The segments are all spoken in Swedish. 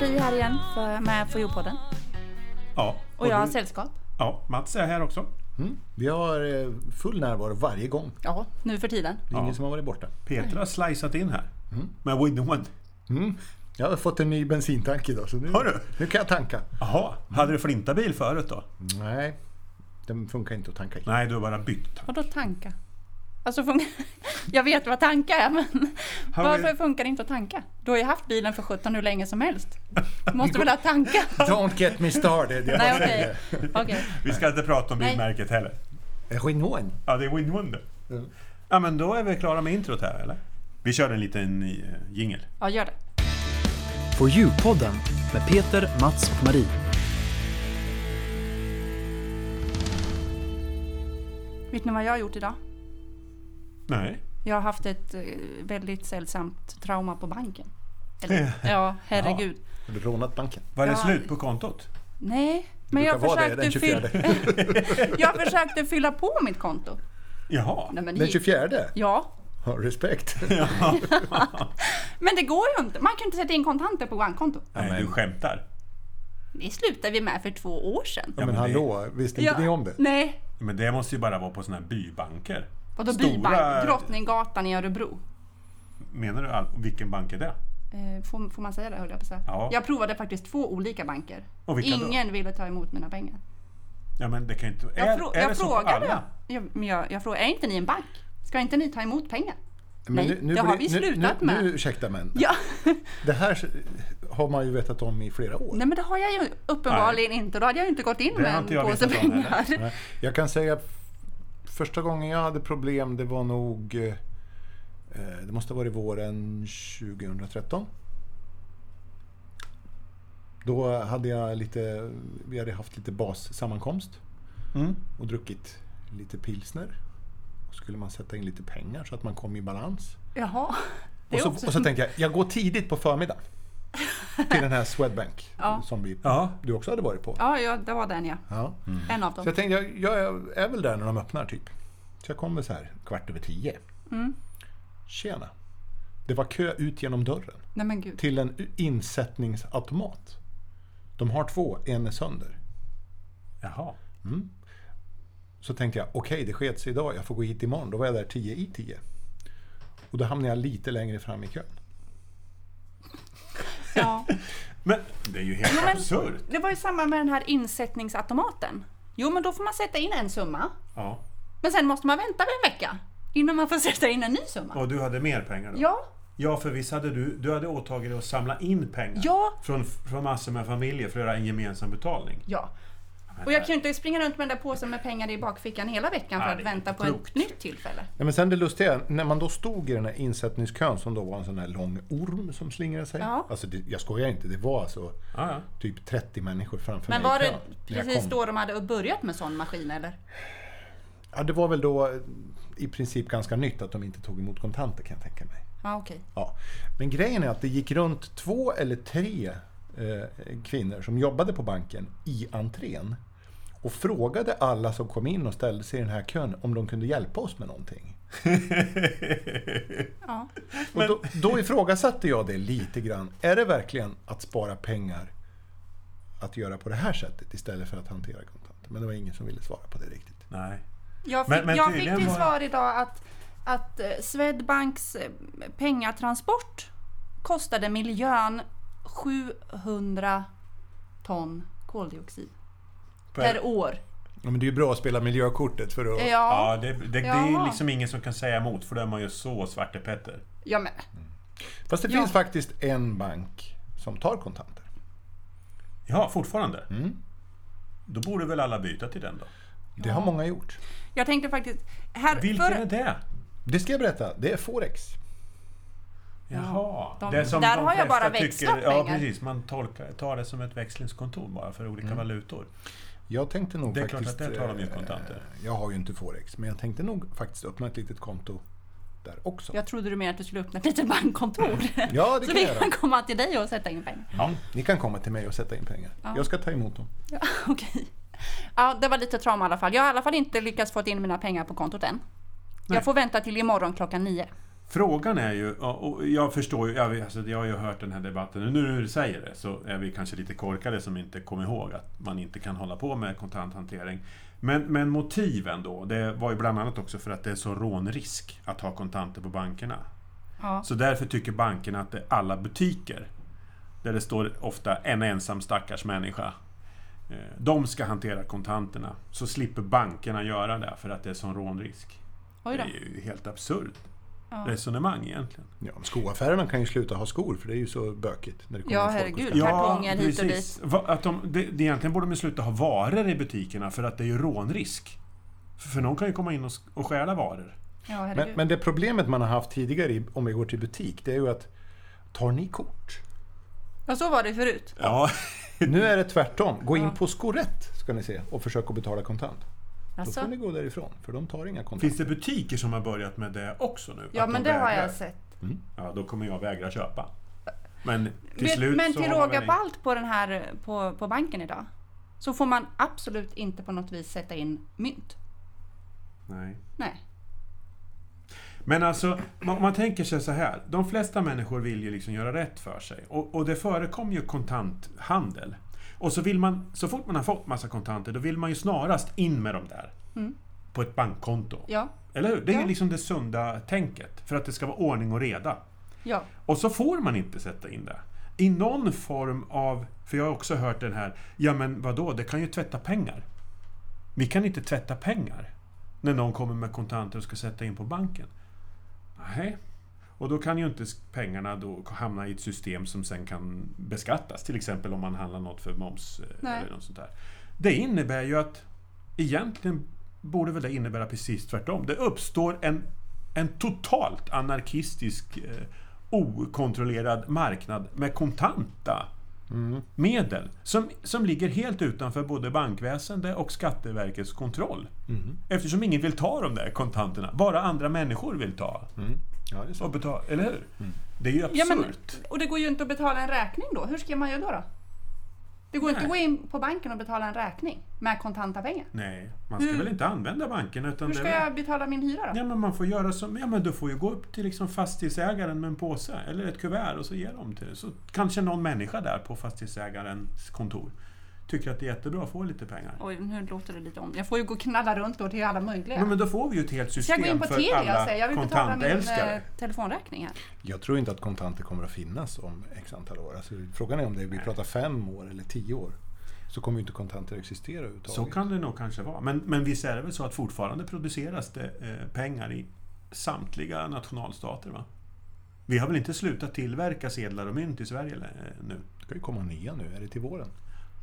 vi här igen för, med FoU-podden. Ja, Och jag har du- sällskap. ja, Mats är här också. Mm. Vi har eh, full närvaro varje gång. Ja, nu för tiden. Det är ingen som har varit borta. Peter har sliceat in här. Med Windowen. Mm. Jag har fått en ny bensintank idag så nu, Har du? nu kan jag tanka. Jaha, hade du flintabil förut då? Nej, den funkar inte att tanka i. Nej, du har bara bytt. Vadå tanka? Alltså funkar... Jag vet vad tanka är men Har varför vi- funkar det inte att tanka? Du har ju haft bilen för 17 hur länge som helst. Du måste väl ha tanka? Don't get me started. Jag Nej bara säger okej. Okej. Vi ska inte prata om Nej. bilmärket heller. det. Renault. Ja, det är Windowen det. Mm. Ja, men då är vi klara med introt här, eller? Vi kör en liten eh, jingle. Ja gör det. På Djurpodden med Peter, Mats och Marie. Vet ni vad jag har gjort idag? Nej. Jag har haft ett eh, väldigt sällsamt trauma på banken. Eller, ja, herregud. Har du lånat banken? Var det Ja. slut på kontot? Nej, men jag brukar vara det försökte, den 24. fylla, jag försökte fylla på mitt konto. Jaha. Nej, men det Den gick- 24? Ja, Ha respekt. men det går ju inte. Man kan inte sätta in kontanter på bankkonto. Nej, du skämtar. Det slutade vi med för två år sedan. Ja, men men det- hallå, visste inte Ja, ni om det? Nej. Men det måste ju bara vara på såna här bybanker. Vadå Stora- bybank? Drottninggatan i Örebro. Menar du all... vilken bank är det? Eh, Får, får man säga det höll jag på att säga. Ja. Jag provade faktiskt två olika banker. Och vilka då? Ingen ville ta emot mina pengar. Ja, men det kan ju inte... Jag, är, frå- är det jag så på frågade. alla? Jag, men jag, jag frågade, är inte ni en bank? Ska inte ni ta emot pengar? Nej, det blir- har vi slutat nu, med. Nu, ursäkta men. Ja. Det här har man ju vetat om i flera år. Nej men det har jag ju uppenbarligen inte. Då hade jag ju inte gått in Det har med inte en jag påse vetat om heller. pengar. Nej, Jag kan säga att första gången jag hade problem det var nog eh, eh, det måste ha varit våren 2013. Då hade jag lite, vi hade haft lite bassammankomst Mm. och druckit lite pilsner. Och skulle man sätta in lite pengar så att man kom i balans. Jaha. Det Och är så, också- och så tänkte jag, jag går tidigt på förmiddagen till den här Swedbank Ja. som vi, Ja. du också hade varit på. Ja, ja, det var den ja. Ja. Mm. En av Så dem. jag tänkte, jag, jag är väl där när de öppnar typ. Så jag kommer så här kvart över tio. Mm. Tjena. Det var kö ut genom dörren Nej men gud. till en u- insättningsautomat. De har två, en är sönder. Jaha. Så tänkte jag, okej det sket sig idag, jag får gå hit imorgon. Då var jag där tio i tio. Och då hamnade jag lite längre fram i kön. Ja. Men det är ju helt men- absurt. Det var ju samma med den här insättningsautomaten. Jo, men då får man sätta in en summa. Ja. Men sen måste man vänta en vecka innan man får sätta in en ny summa. Och du hade mer pengar då? Ja, Ja, för visst hade du, du hade åtagit dig att samla in pengar Ja. från, från massor med familjer för att göra en gemensam betalning. ja. Och jag kan ju inte springa runt med den där påsen med pengar i bakfickan hela veckan för Nej, att det är vänta inte på ett klokt. nytt tillfälle. Ja, men sen det lustiga, när man då stod i den här insättningskön som då var en sån här lång orm som slingrade sig. Ja. Alltså det, jag skojar inte, det var alltså Ja, ja. typ 30 människor framför Men mig i var det kön när jag precis kom. då de hade börjat med sån maskin eller? Ja, det var väl då eh, i princip ganska nytt att de inte tog emot kontanter kan jag tänka mig. Ja, okej. Ja. Men grejen är att det gick runt två eller tre eh, kvinnor som jobbade på banken i entrén och frågade alla som kom in och ställde sig i den här kön om de kunde hjälpa oss med någonting. Ja. Och då, då ifrågasatte jag det lite grann. Är det verkligen att spara pengar att göra på det här sättet istället för att hantera kontanter? Men det var ingen som ville svara på det riktigt. Nej. Jag fick, Men- men jag fick tydligen till var- svar idag att, att eh, Swedbanks eh, pengatransport kostade miljön 700 ton koldioxid per, år. Ja, men det är ju bra att spela miljökortet för att... Ja, Ja, ja. det, det, det Jaha. är liksom ingen som kan säga emot för då är man ju så Svarte Petter. men Fast det Ja. finns faktiskt en bank som tar kontanter. Ja, fortfarande? Då borde väl alla byta till den då? Det har många gjort. jag tänkte faktiskt... Här, Vilken för, är det? Det ska jag berätta. Det är Forex. Jaha. de- det som där de har jag flesta bara tycker- växlat Ja, pengar. precis. Man tolkar, tar det som ett växlingskontor bara för olika valutor. Jag tänkte nog Det är klart faktiskt... att där tar de ju eh, kontanter. Jag har ju inte Forex, men jag tänkte nog faktiskt öppna ett litet konto där också. jag trodde du menade att du skulle öppna ett litet bankkontor. Ja, det Så kan vi jag kan göra. komma till dig och sätta in pengar. Ja, ni kan komma till mig och sätta in pengar. Jag ska ta emot dem. Ja, okej. Ja, det var lite trauma i alla fall. Jag har i alla fall inte lyckats få in mina pengar på kontot än. Jag får vänta till imorgon klockan nio. Frågan är ju, och jag förstår ju, jag, alltså, jag har ju hört den här debatten, och nu när du säger det så är vi kanske lite korkade som inte kommer ihåg att man inte kan hålla på med kontanthantering. Men, men motiven då, det var ju bland annat också för att det är så rånrisk att ha kontanter på bankerna. Ja. Så därför tycker bankerna att det är alla butiker, där det står ofta en ensam stackars människa, eh, de ska hantera kontanterna. Så slipper bankerna göra det för att det är sån rånrisk. Oj Det då. är ju helt absurt Ja. resonemang egentligen. Ja, men skoaffärerna kan ju sluta ha skor för det är ju så bökigt. När det kommer Ja, folk och herregud. ska- Kartonger hit och Va- Att de, det, det egentligen borde de ju sluta ha varor i butikerna för att det är ju rånrisk. För, för någon kan ju komma in och, s- och stjäla varor. Ja, herregud. Men, men det problemet man har haft tidigare, i- om vi går till butik, det är ju att tar ni kort? Ja, så var det förut. Ja. Nu är det tvärtom. Gå in Ja. på Skorett ska ni se och försök att betala kontant. Då Alltså, får ni gå därifrån, för de tar inga kontanter. Finns det butiker som har börjat med det också nu? ja, Att de men det har vägrar? Mm. jag sett. Ja, då kommer jag vägra köpa. Men till men slut men så till har man råga väl- på allt på den här på, på banken idag så får man absolut inte på något vis sätta in mynt. Nej. Nej. Men alltså, man, man tänker sig så här. De flesta människor vill ju liksom göra rätt för sig. Och, och det förekommer ju kontanthandel. Och så vill man, så fort man har fått massa kontanter, då vill man ju snarast in med dem där. På ett bankkonto. Mm. Ja. Eller hur? Det är Ja. ju liksom det sunda tänket. För att det ska vara ordning och reda. Ja. Och så får man inte sätta in det. I någon form av... För jag har också hört den här, ja men vadå, det kan ju tvätta pengar. Vi kan inte tvätta pengar. När någon kommer med kontanter och ska sätta in på banken. Nej. Och då kan ju inte s- pengarna då hamna i ett system som sen kan beskattas. Till exempel om man handlar något för moms eh, Nej. eller något sånt där. Det innebär ju att egentligen borde väl det innebära precis tvärtom. Det uppstår en, en totalt anarkistisk, eh, okontrollerad marknad med kontanta medel som, som ligger helt utanför både bankväsende och Skatteverkets kontroll. Eftersom ingen vill ta de där kontanterna. Bara andra människor vill ta Mm. Ja, det är så. och betala, eller hur? Det är ju absurt. Ja, men- Och det går ju inte att betala en räkning då. Hur ska man göra då? då? Det går inte Nej. att gå in på banken och betala en räkning med kontanta pengar. Nej, man ska Hur- väl inte använda banken utan Mm. Hur det är ska väl- jag betala min hyra då? Ja, men man får göra som... Ja, men du får ju gå upp till liksom fastighetsägaren med en påse eller ett kuvert och så ger de till dig. Så kanske någon människa där på fastighetsägarens kontor tycker att det är jättebra att få lite pengar. Oj, nu låter det lite om. Jag får ju gå och knalla runt då till alla möjliga. Men, men då får vi ju ett helt ska jag gå in system på för Telia och alla säga jag vill betala min kontantälskare. eh, telefonräkning här? Jag tror inte att kontanter kommer att finnas om x antal år. Alltså, frågan är om det, vi pratar fem år eller tio år. Så kommer ju inte kontanter existera överhuvudtaget. Så kan det nog kanske vara. Men, men visst är det väl så att fortfarande produceras det eh, pengar i samtliga nationalstater? va? Vi har väl inte slutat tillverka sedlar och mynt i Sverige eh, nu? Det ska ju komma nya nu, är det till våren?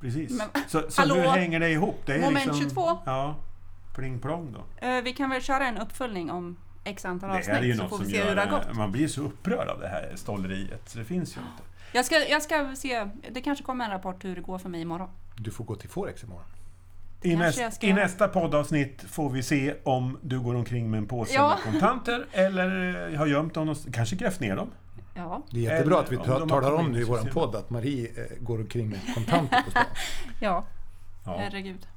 Precis. Men- så så hallå? hur hänger det ihop? Det är Moment liksom, 22. Ja, pling plong då. Eh, Vi kan väl köra en uppföljning om x antal Det här är ju avsnitt så något får vi som se hur gör... det har gått. eh, Man blir så upprörd av det här stolleriet, så det finns ju inte. Jag ska, jag ska se, det kanske kommer en rapport hur det går för mig imorgon. Du får gå till Forex imorgon. I, Kanske näst, jag ska- I nästa poddavsnitt får vi se om du går omkring med en påse Ja. med kontanter eller eh, har gömt dem någonstans. Kanske grävt ner dem. Ja, Det är jättebra Eller att vi om ta- de har talar kommit om nu i in i vår systemet. podd att Marie eh, går omkring med kontanter på stan. ja, Ja. herregud.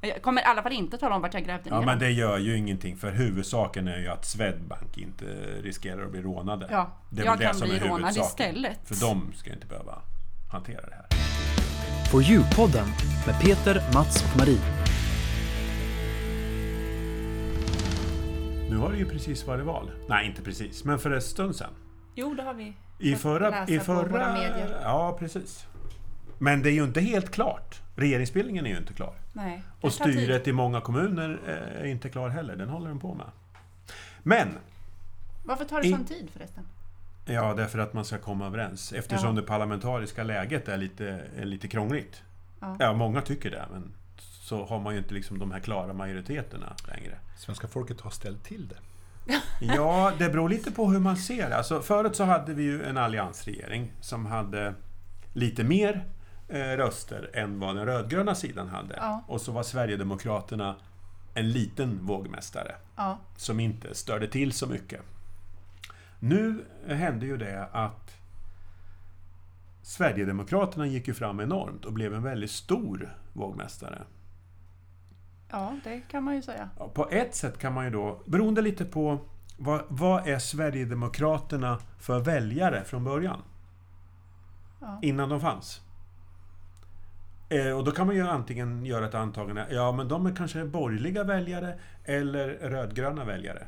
Jag kommer i alla fall inte tala om vart jag grävde ner ja, men dem. det gör ju ingenting för huvudsaken är ju att Swedbank inte riskerar att bli rånade. Ja, det är jag väl det kan som bli är rånad huvudsaken. istället. För de ska inte behöva hantera det här. For You-podden med Peter, Mats och Marie. Nu har det ju precis varit val. Nej, inte precis, men för en stund sedan. Jo, det har vi. I fått förra... läsa I på förra våra medier. ja, precis. Men det är ju inte helt klart. Regeringsbildningen är ju inte klar. Nej. Och det tar tid. styret i många kommuner eh, är inte klar heller. Den håller de på med. Men Varför tar det i- sån tid förresten? Ja, därför att man ska komma överens. Eftersom Ja. det parlamentariska läget är lite, är lite krångligt. Ja. Ja. många tycker det, men så har man ju inte liksom de här klara majoriteterna längre. Svenska folket har ställt till det. Ja, det beror lite på hur man ser det. Alltså, förut så hade vi ju en alliansregering som hade lite mer eh, röster än vad den rödgröna sidan hade. Ja. Och så var Sverigedemokraterna en liten vågmästare Ja, som inte störde till så mycket. Nu hände ju det att Sverigedemokraterna gick ju fram enormt och blev en väldigt stor vågmästare. ja, det kan man ju säga. Ja, På ett sätt kan man ju då, beroende lite på Vad, vad är Sverigedemokraterna för väljare från början? Ja. Innan de fanns? Eh, och då kan man ju antingen göra ett antagande, ja men de är kanske borgerliga väljare eller rödgröna väljare.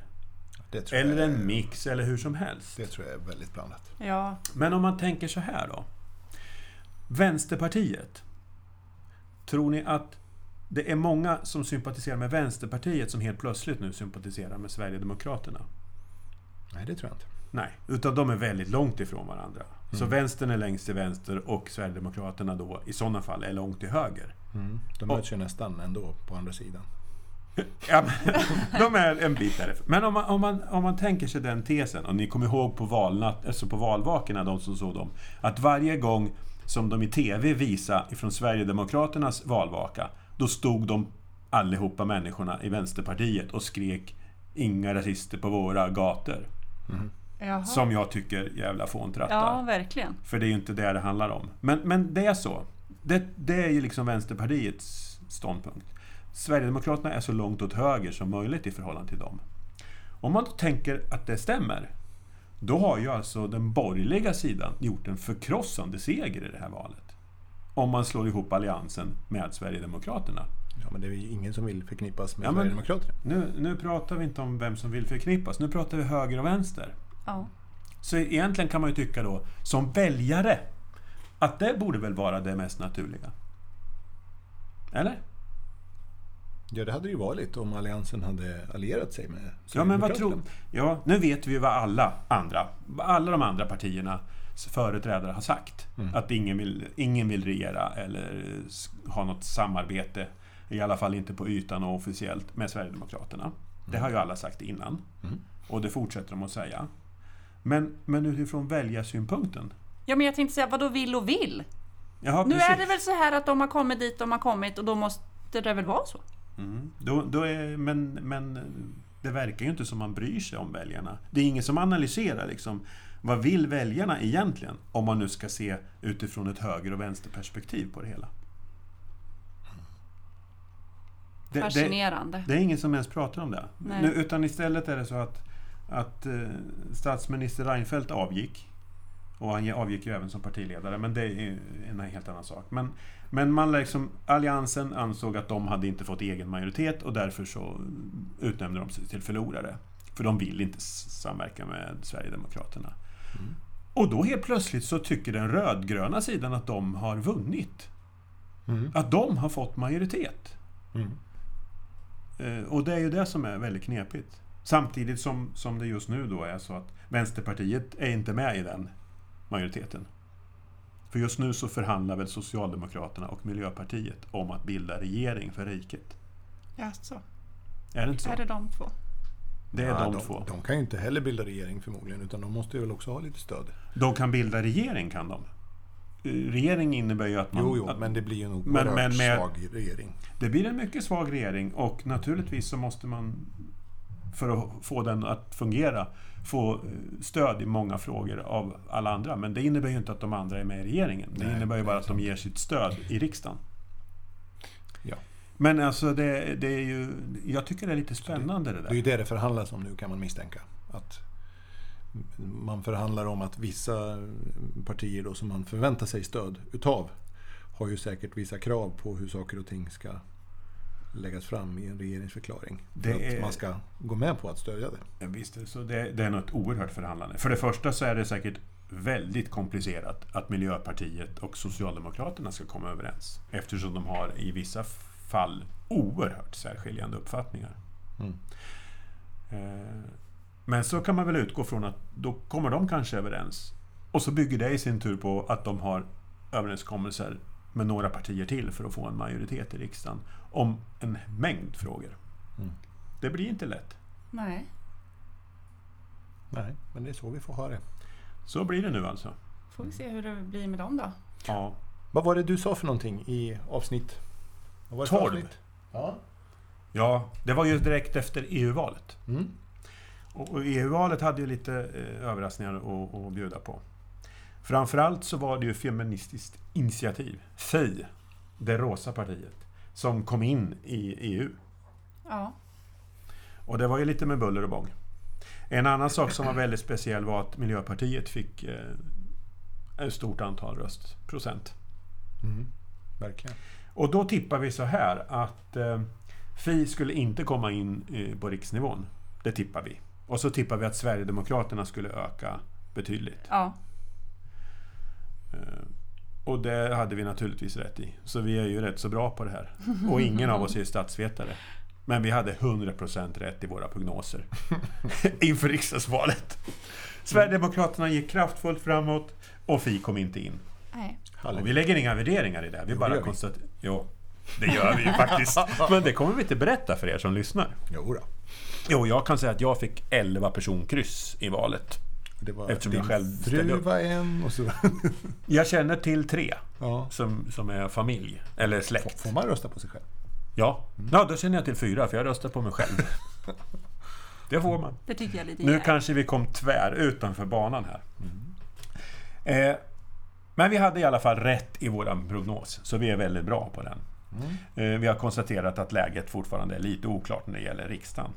Det tror Eller jag, en mix, eller hur som helst. Det tror jag är väldigt blandat. Ja. Men om man tänker så här då. Vänsterpartiet. Tror ni att det är många som sympatiserar med Vänsterpartiet som helt plötsligt nu sympatiserar med Sverigedemokraterna? Nej, det tror jag inte. Nej, utan de är väldigt långt ifrån varandra. Så vänstern är längst till vänster och Sverigedemokraterna då i sådana fall är långt till höger. De Och- möts ju nästan ändå på andra sidan. Ja, men, de är en bit därifrån. Men om man, om, man, om man tänker sig den tesen, och ni kommer ihåg på, valnatt, alltså på valvakorna, de som såg dem, att varje gång som de i TV visade ifrån Sverigedemokraternas valvaka, då stod de allihopa människorna i Vänsterpartiet och skrek “Inga rasister på våra gator”. Jaha. Som jag tycker jävla fåntrattar. ja, verkligen. För det är ju inte det det handlar om. Men, men det är så. Det, det är ju liksom Vänsterpartiets ståndpunkt. Sverigedemokraterna är så långt åt höger som möjligt i förhållande till dem. Om man då tänker att det stämmer, då har ju alltså den borgerliga sidan gjort en förkrossande seger i det här valet. Om man slår ihop alliansen med Sverigedemokraterna. Ja, men det är ju ingen som vill förknippas med Ja, men- Sverigedemokraterna. Nu, nu pratar vi inte om vem som vill förknippas, nu pratar vi höger och vänster. Ja. Så egentligen kan man ju tycka då, som väljare, att det borde väl vara det mest naturliga. Eller? Ja, det hade det ju varit om Alliansen hade allierat sig med Ja, men vad tror... Sverigedemokraterna. Ja, nu vet vi ju vad alla andra, vad alla de andra partiernas företrädare har sagt. Att ingen vill, ingen vill regera eller s- ha något samarbete, i alla fall inte på ytan och officiellt, med Sverigedemokraterna. Det har ju alla sagt innan. Och det fortsätter de att säga. Men, men utifrån väljarsynpunkten? ja, men jag tänkte säga, vadå vill och vill? Jaha, Nu är precis. det väl så här att de har kommit dit de har kommit och då måste det väl vara så? Mm. Då, då är, men, men det verkar ju inte som man bryr sig om väljarna. Det är ingen som analyserar liksom, vad vill väljarna egentligen? Om man nu ska se utifrån ett höger och vänsterperspektiv på det hela. Det, det, Fascinerande. det är ingen som ens pratar om det. Nej. Nu, utan istället är det så att, att eh, statsminister Reinfeldt avgick. Och han avgick ju även som partiledare, men det är ju en helt annan sak. Men, men man liksom, Alliansen ansåg att de hade inte fått egen majoritet och därför så utnämnde de sig till förlorare. För de vill inte s- samverka med Sverigedemokraterna. Och då helt plötsligt så tycker den rödgröna sidan att de har vunnit. Mm. Att de har fått majoritet. Mm. Eh, Och det är ju det som är väldigt knepigt. Samtidigt som, som det just nu då är så att Vänsterpartiet är inte med i den majoriteten. För just nu så förhandlar väl Socialdemokraterna och Miljöpartiet om att bilda regering för riket. Jaså, Är det inte så? är det de två? Det är Ja, de, de två. De kan ju inte heller bilda regering förmodligen, utan de måste ju väl också ha lite stöd. De kan bilda regering, kan de. Eh, Regering innebär ju att man... Jo, jo, att men det blir ju nog Men- oerhört men med- svag regering. Det blir en mycket svag regering och naturligtvis så måste man för att få den att fungera få eh, stöd i många frågor av alla andra. Men det innebär ju inte att de andra är med i regeringen. Det Nej, innebär ju bara det är att de ger sitt stöd i riksdagen. Ja. Men alltså det, det är ju... Jag tycker det är lite spännande det Det är ju där. det det förhandlas om nu kan man misstänka. Att man förhandlar om att vissa partier då som man förväntar sig stöd utav har ju säkert vissa krav på hur saker och ting ska läggas fram i en regeringsförklaring. Det för att är- man ska gå med på att stödja det. Ja, Visst, är det så det, det är något oerhört förhandlande. För det första så är det säkert väldigt komplicerat att Miljöpartiet och Socialdemokraterna ska komma överens. Eftersom de har i vissa fall oerhört särskiljande uppfattningar. Mm. Eh, Men så kan man väl utgå från att då kommer de kanske överens. Och så bygger det i sin tur på att de har överenskommelser med några partier till för att få en majoritet i riksdagen om en mängd frågor. Mm. Det blir inte lätt. Nej. Nej, men det är så vi får ha det. Så blir det nu alltså. Får vi se hur det blir med dem då. Ja. Vad var det du sa för någonting i avsnitt? Vad var det för Tolv. avsnitt? Ja. ja, det var ju direkt efter EU-valet. Mm. Och och EU-valet hade ju lite eh, överraskningar att, att bjuda på. Framförallt så var det ju Feministiskt initiativ, FI, det rosa partiet, som kom in i E EU. Ja. Och det var ju lite med buller och bång. En annan sak som var väldigt speciell var att Miljöpartiet fick eh, ett stort antal röstprocent. Mm. Verkligen. Och då tippar vi så här att eh, Fi skulle inte komma in eh, på riksnivån. Det tippar vi. Och så tippar vi att Sverigedemokraterna skulle öka betydligt. Ja, Eh, Och det hade vi naturligtvis rätt i. Så vi är ju rätt så bra på det här. Och ingen av oss är statsvetare. Men vi hade 100% rätt i våra prognoser inför riksdagsvalet. Sverigedemokraterna gick kraftfullt framåt och Fi kom inte in. nej. Och Härligt. vi lägger inga värderingar i det. Vi det bara gör vi. konstaterar... Jo, det gör vi ju faktiskt. Men det kommer vi inte berätta för er som lyssnar. Jo då. Jo, jag kan säga att jag fick 11 personkryss i valet. Det var Eftersom din jag själv ställde fru upp. var en och så... Jag känner till tre Ja. som, som är familj, eller släkt. Får man rösta på sig själv? Ja. ja, då känner jag till fyra, för jag röstar på mig själv. Det får man. Det tycker jag är lite Nu jävligt. kanske vi kom tvär utanför banan här. Eh, men vi hade i alla fall rätt i vår prognos, så vi är väldigt bra på den. Eh, vi har konstaterat att läget fortfarande är lite oklart när det gäller riksdagen.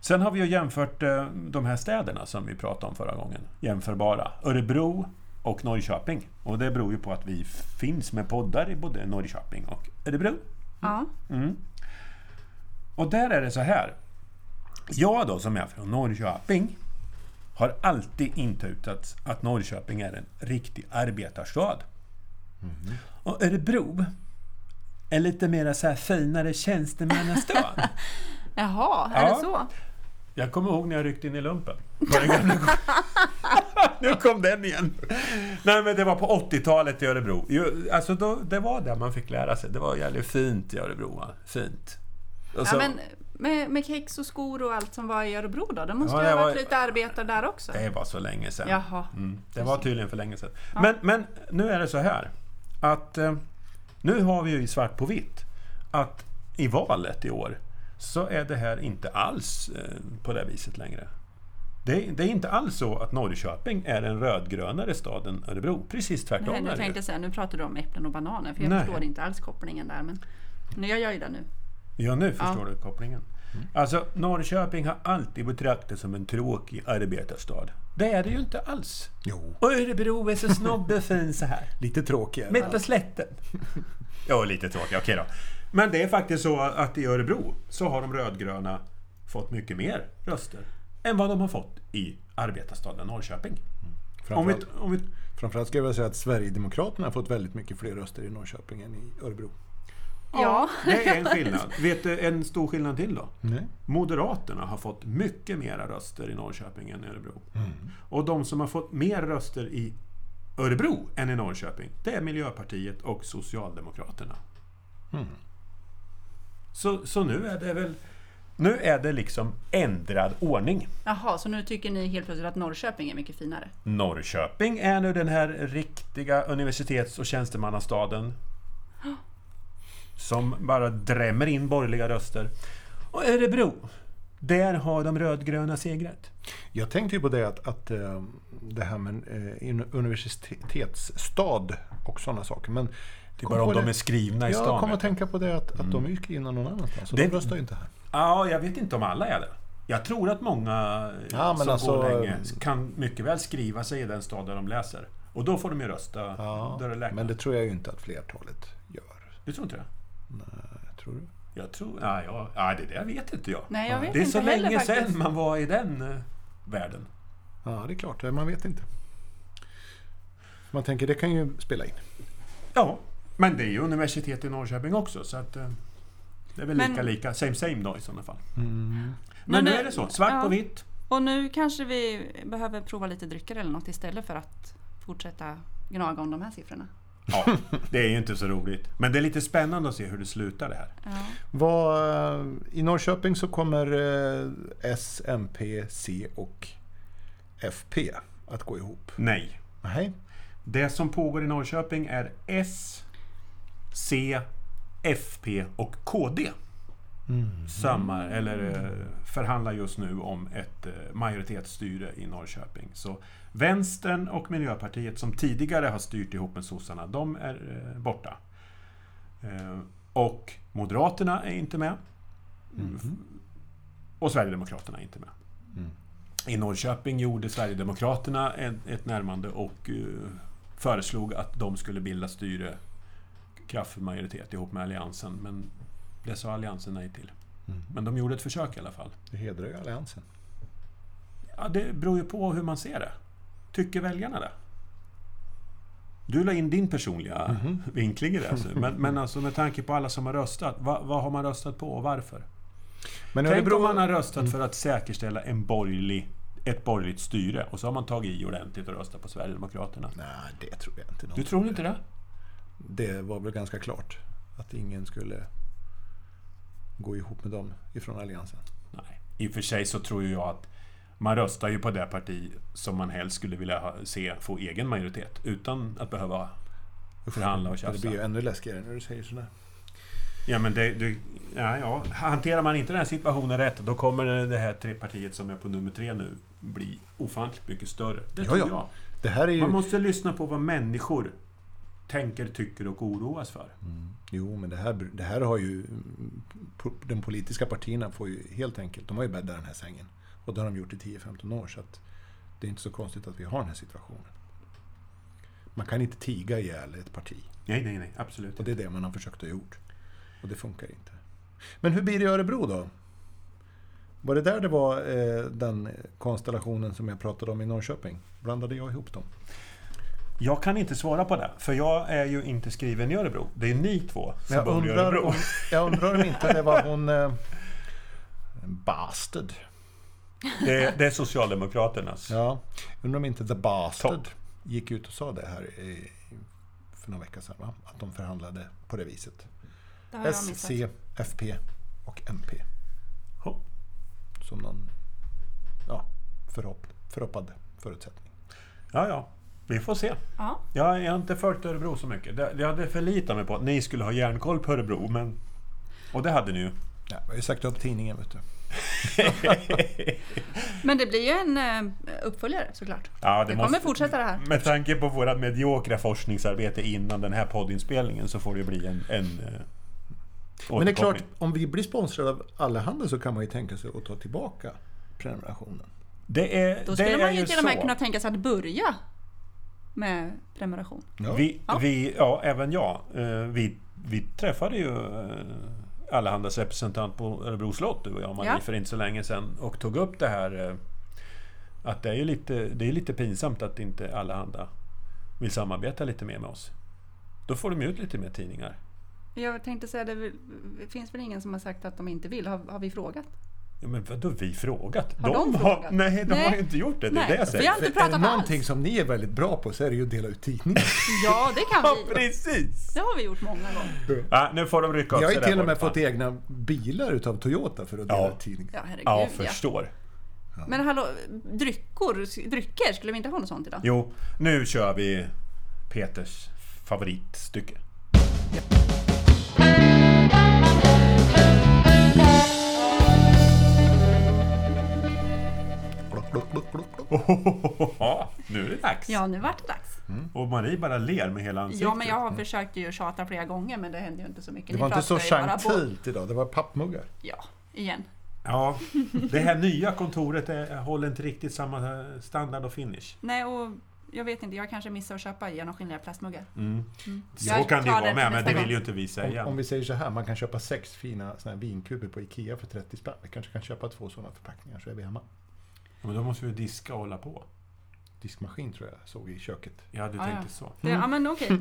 Sen har vi ju jämfört eh, de här städerna som vi pratade om förra gången, jämförbara. Örebro och Norrköping. Och det beror ju på att vi finns med poddar i både Norrköping och Örebro. Ja, Mm. Och där är det så här. Jag då, som är från Norrköping, har alltid intutat att Norrköping är en riktig arbetarstad. Mhm. Och Örebro är lite mer så här finare tjänstemannastad. jaha, är Ja. det så? Jag kommer ihåg när jag ryckte in i lumpen. På den gamla nu kom den igen! Nej men det var på 80-talet i Örebro. Ju, alltså då, det var där man fick lära sig. Det var jävligt fint i Örebro. Va? Fint. Och så- Ja, men med, med kex och skor och allt som var i Örebro då? Det måste Ja, ju ha det var- varit lite arbetare där också? Det var så länge sedan. Jaha. Mm, det var tydligen för länge sedan. Men, men nu är det så här att eh, nu har vi ju i svart på vitt att i valet i år så är det här inte alls eh, på det viset längre. Det, det är inte alls så att Norrköping är en rödgrönare stad än Örebro. Precis tvärtom Nej, är nu det ju. tänkte jag säga, nu pratar du om äpplen och bananer för jag Nej. förstår inte alls kopplingen där. Men men jag gör ju det nu. Ja, nu förstår du kopplingen. Alltså, Norrköping har alltid betraktats som en tråkig arbetarstad. Det är det ju inte alls. Jo. Och Örebro är så snobbig fin så här. Lite tråkigare. Mitt på slätten. Ja, lite tråkigt. Okej då. Men det är faktiskt så att i Örebro så har de rödgröna fått mycket mer röster än vad de har fått i arbetarstaden Norrköping. Om vi, Framförallt, om vi, framförallt skulle jag vilja säga att Sverigedemokraterna har fått väldigt mycket fler röster i Norrköping än i Örebro. Ja. det är en skillnad. Vet du en stor skillnad till då? Nej. Moderaterna har fått mycket mera röster i Norrköping än i Örebro. Och de som har fått mer röster i Örebro än i Norrköping, det är Miljöpartiet och Socialdemokraterna. Så, så nu är det väl... Nu är det liksom ändrad ordning. Jaha, så nu tycker ni helt plötsligt att Norrköping är mycket finare? Norrköping är nu den här riktiga universitets och tjänstemannastaden. Som bara drämmer in borgerliga röster. Och Örebro, där har de rödgröna segrat. Jag tänkte ju på det att, att eh, det här med eh, in- universitetsstad och sådana saker. Men Det är Typ bara om de är skrivna i Jag kom stan. att tänka på det att, att de är ju skrivna någon annanstans. Så Det- de röstar ju inte här. Ja, jag vet inte om alla är det. Jag tror att många eh, Ja, men som alltså, går länge kan mycket väl skriva sig i den stad där de läser. Och då får de ju rösta där det Ja, läknar. men det tror jag ju inte att flertalet gör. Du tror inte det? Nej, tror du? Jag tror... Nej, jag, nej det där vet inte jag. Nej, jag vet det är inte så heller länge faktiskt. sedan man var i den eh, världen. Ja, det är klart. Man vet inte. Man tänker, det kan ju spela in. Ja, men det är ju universitet i Norrköping också så att... eh, Det är väl Men- lika lika, same same då i sådana fall. Men Men nu det- är det så, svart ja. på vitt. Och nu kanske vi behöver prova lite drycker eller något istället för att fortsätta gnaga om de här siffrorna. Ja, det är ju inte så roligt. Men det är lite spännande att se hur det slutar det här. Ja. Vad, eh, I Norrköping så kommer eh, S, MP, C och FP att gå ihop. Nej, Nej, Det som pågår i Norrköping är S, C, FP och KD. Mm. Samma, eller eh, förhandlar just nu om ett eh, majoritetsstyre i Norrköping. Så Vänstern och Miljöpartiet som tidigare har styrt ihop med sossarna, de är eh, borta. Eh, Och Mm. Moderaterna är inte med. Och Sverigedemokraterna är inte med. I Norrköping gjorde Sverigedemokraterna en- ett närmande och eh, föreslog att de skulle bilda styre kraft för majoritet ihop med Alliansen. Men det sa Alliansen nej till. Mm. Men de gjorde ett försök i alla fall. Det hedrar ju Alliansen. Ja, det beror ju på hur man ser det. Tycker väljarna det? Du la in din personliga vinkling i det. Alltså. Men, men alltså med tanke på alla som har röstat, vad, vad har man röstat på och varför? Men Tänk Örebro- om man har Mm. röstat för att säkerställa en borgerlig, ett borgerligt styre och så har man tagit i ordentligt och röstat på Sverigedemokraterna. Nej, det tror jag inte. någon Du tror inte det? Det var väl ganska klart att ingen skulle gå ihop med dem ifrån Alliansen. Nej. I och för sig så tror ju jag att man röstar ju på det parti som man helst skulle vilja ha, se få egen majoritet utan att behöva förhandla och Det blir tjafsa. ju ännu läskigare när du säger sådär. Ja, men det, det, ja, ja. Hanterar man inte den här situationen rätt, då kommer det här trepartiet som är på nummer tre nu bli ofantligt mycket större. Det Ja, tror ja. jag. Det här är ju... Man måste lyssna på vad människor tänker, tycker och oroas för. Mm. Jo, men det här, det här har ju... po- De politiska partierna får ju helt enkelt... De har ju bäddat den här sängen. Och det har de gjort i 10-15 år, så att det är inte så konstigt att vi har den här situationen. Man kan inte tiga ihjäl ett parti. Nej, nej, nej. Absolut Och det är det man har försökt att gjort. Och det funkar inte. Men hur blir det i Örebro då? Var det där det var eh, den konstellationen som jag pratade om i Norrköping? Blandade jag ihop dem? Jag kan inte svara på det, för jag är ju inte skriven i Örebro. Det är ni två som Men jag, bor i undrar Örebro. om, jag undrar om inte det var hon... Eh, bastard. Det, är- det är Socialdemokraternas. Ja, undrar om inte The Bastard Topp. gick ut och sa det här i, för några veckor sedan, va? Att de förhandlade på det viset. Det har jag S, missat. C, FP och MP. Hopp. Som någon ja, förhopp, förhoppad förutsättning. Ja, ja. Vi får se. Ja. Jag, jag har inte följt Örebro så mycket. Det- Jag hade förlitat mig på att ni skulle ha järnkoll på Örebro, men... Och det hade ni ju. Ja, jag har ju sagt upp tidningen, vet du. Men det blir ju en eh, uppföljare såklart. Ja, det kommer fortsätta det här. Med tanke på vårt mediokra forskningsarbete innan den här poddinspelningen så får det bli en... en eh, Men det är återkoppling. klart, om vi blir sponsrade av Allehanda så kan man ju tänka sig att ta tillbaka prenumerationen. Det är, Då skulle det är man ju ju till och med så. kunna tänka sig att börja med prenumeration. Ja. Vi, Ja. Vi, ja, även jag. Eh, Vi, vi träffade ju eh, Allehandas representant på Örebro slott, du och jag, Marie, Ja. för inte så länge sedan och tog upp det här eh, att det är ju lite, det är lite pinsamt att inte Allehanda vill samarbeta lite mer med oss. Då får de ju ut lite mer tidningar. Jag tänkte säga, det vill- finns väl ingen som har sagt att de inte vill? Har, har vi frågat? Ja, men vadå, vi frågat? Har de frågat? Nej, de Nej. har ju inte gjort det. Det är Nej, det jag vi säger. har inte För är det pratat någonting alls. som ni är väldigt bra på så är det ju att dela ut tidningar. Ja, det kan Ja, vi. precis! Det har vi gjort många gånger. Ja, nu får de rycka upp Jag sig har ju där till och med borta. fått egna bilar utav Toyota för att dela Ja. ut tidningar. Ja, herregud Ja, ja. förstår. Men hallå, dryckor, drycker, skulle vi inte ha något sånt idag? Jo, nu kör vi Peters favoritstycke. Klock, klock, klock, klock, klock. Ja, nu är det dags. Ja, nu vart det dags. Och Marie bara ler med hela ansiktet. Ja, men jag har försökt ju tjata flera gånger, men det hände ju inte så mycket. Mm. Det Ni var inte så pratar ju bara på- gentilt idag, det var pappmuggar. Ja, igen. Ja, det här nya kontoret är, håller inte riktigt samma eh, standard och finish. Nej, och jag vet inte, jag kanske missar att köpa genomskinliga plastmuggar. Mm. Så Jag kan det ju tar vara det till med, men det nästa vill gång. ju inte vi säga. Om, om vi säger så här, man kan köpa sex fina såna här vinkuber på IKEA för 30 spänn. Vi kanske kan köpa två sådana förpackningar så är vi hemma. Men då måste vi ju diska och hålla på. Diskmaskin tror jag såg i köket. Ja, du Ja, tänkte ja. så. Det, ja, men okej.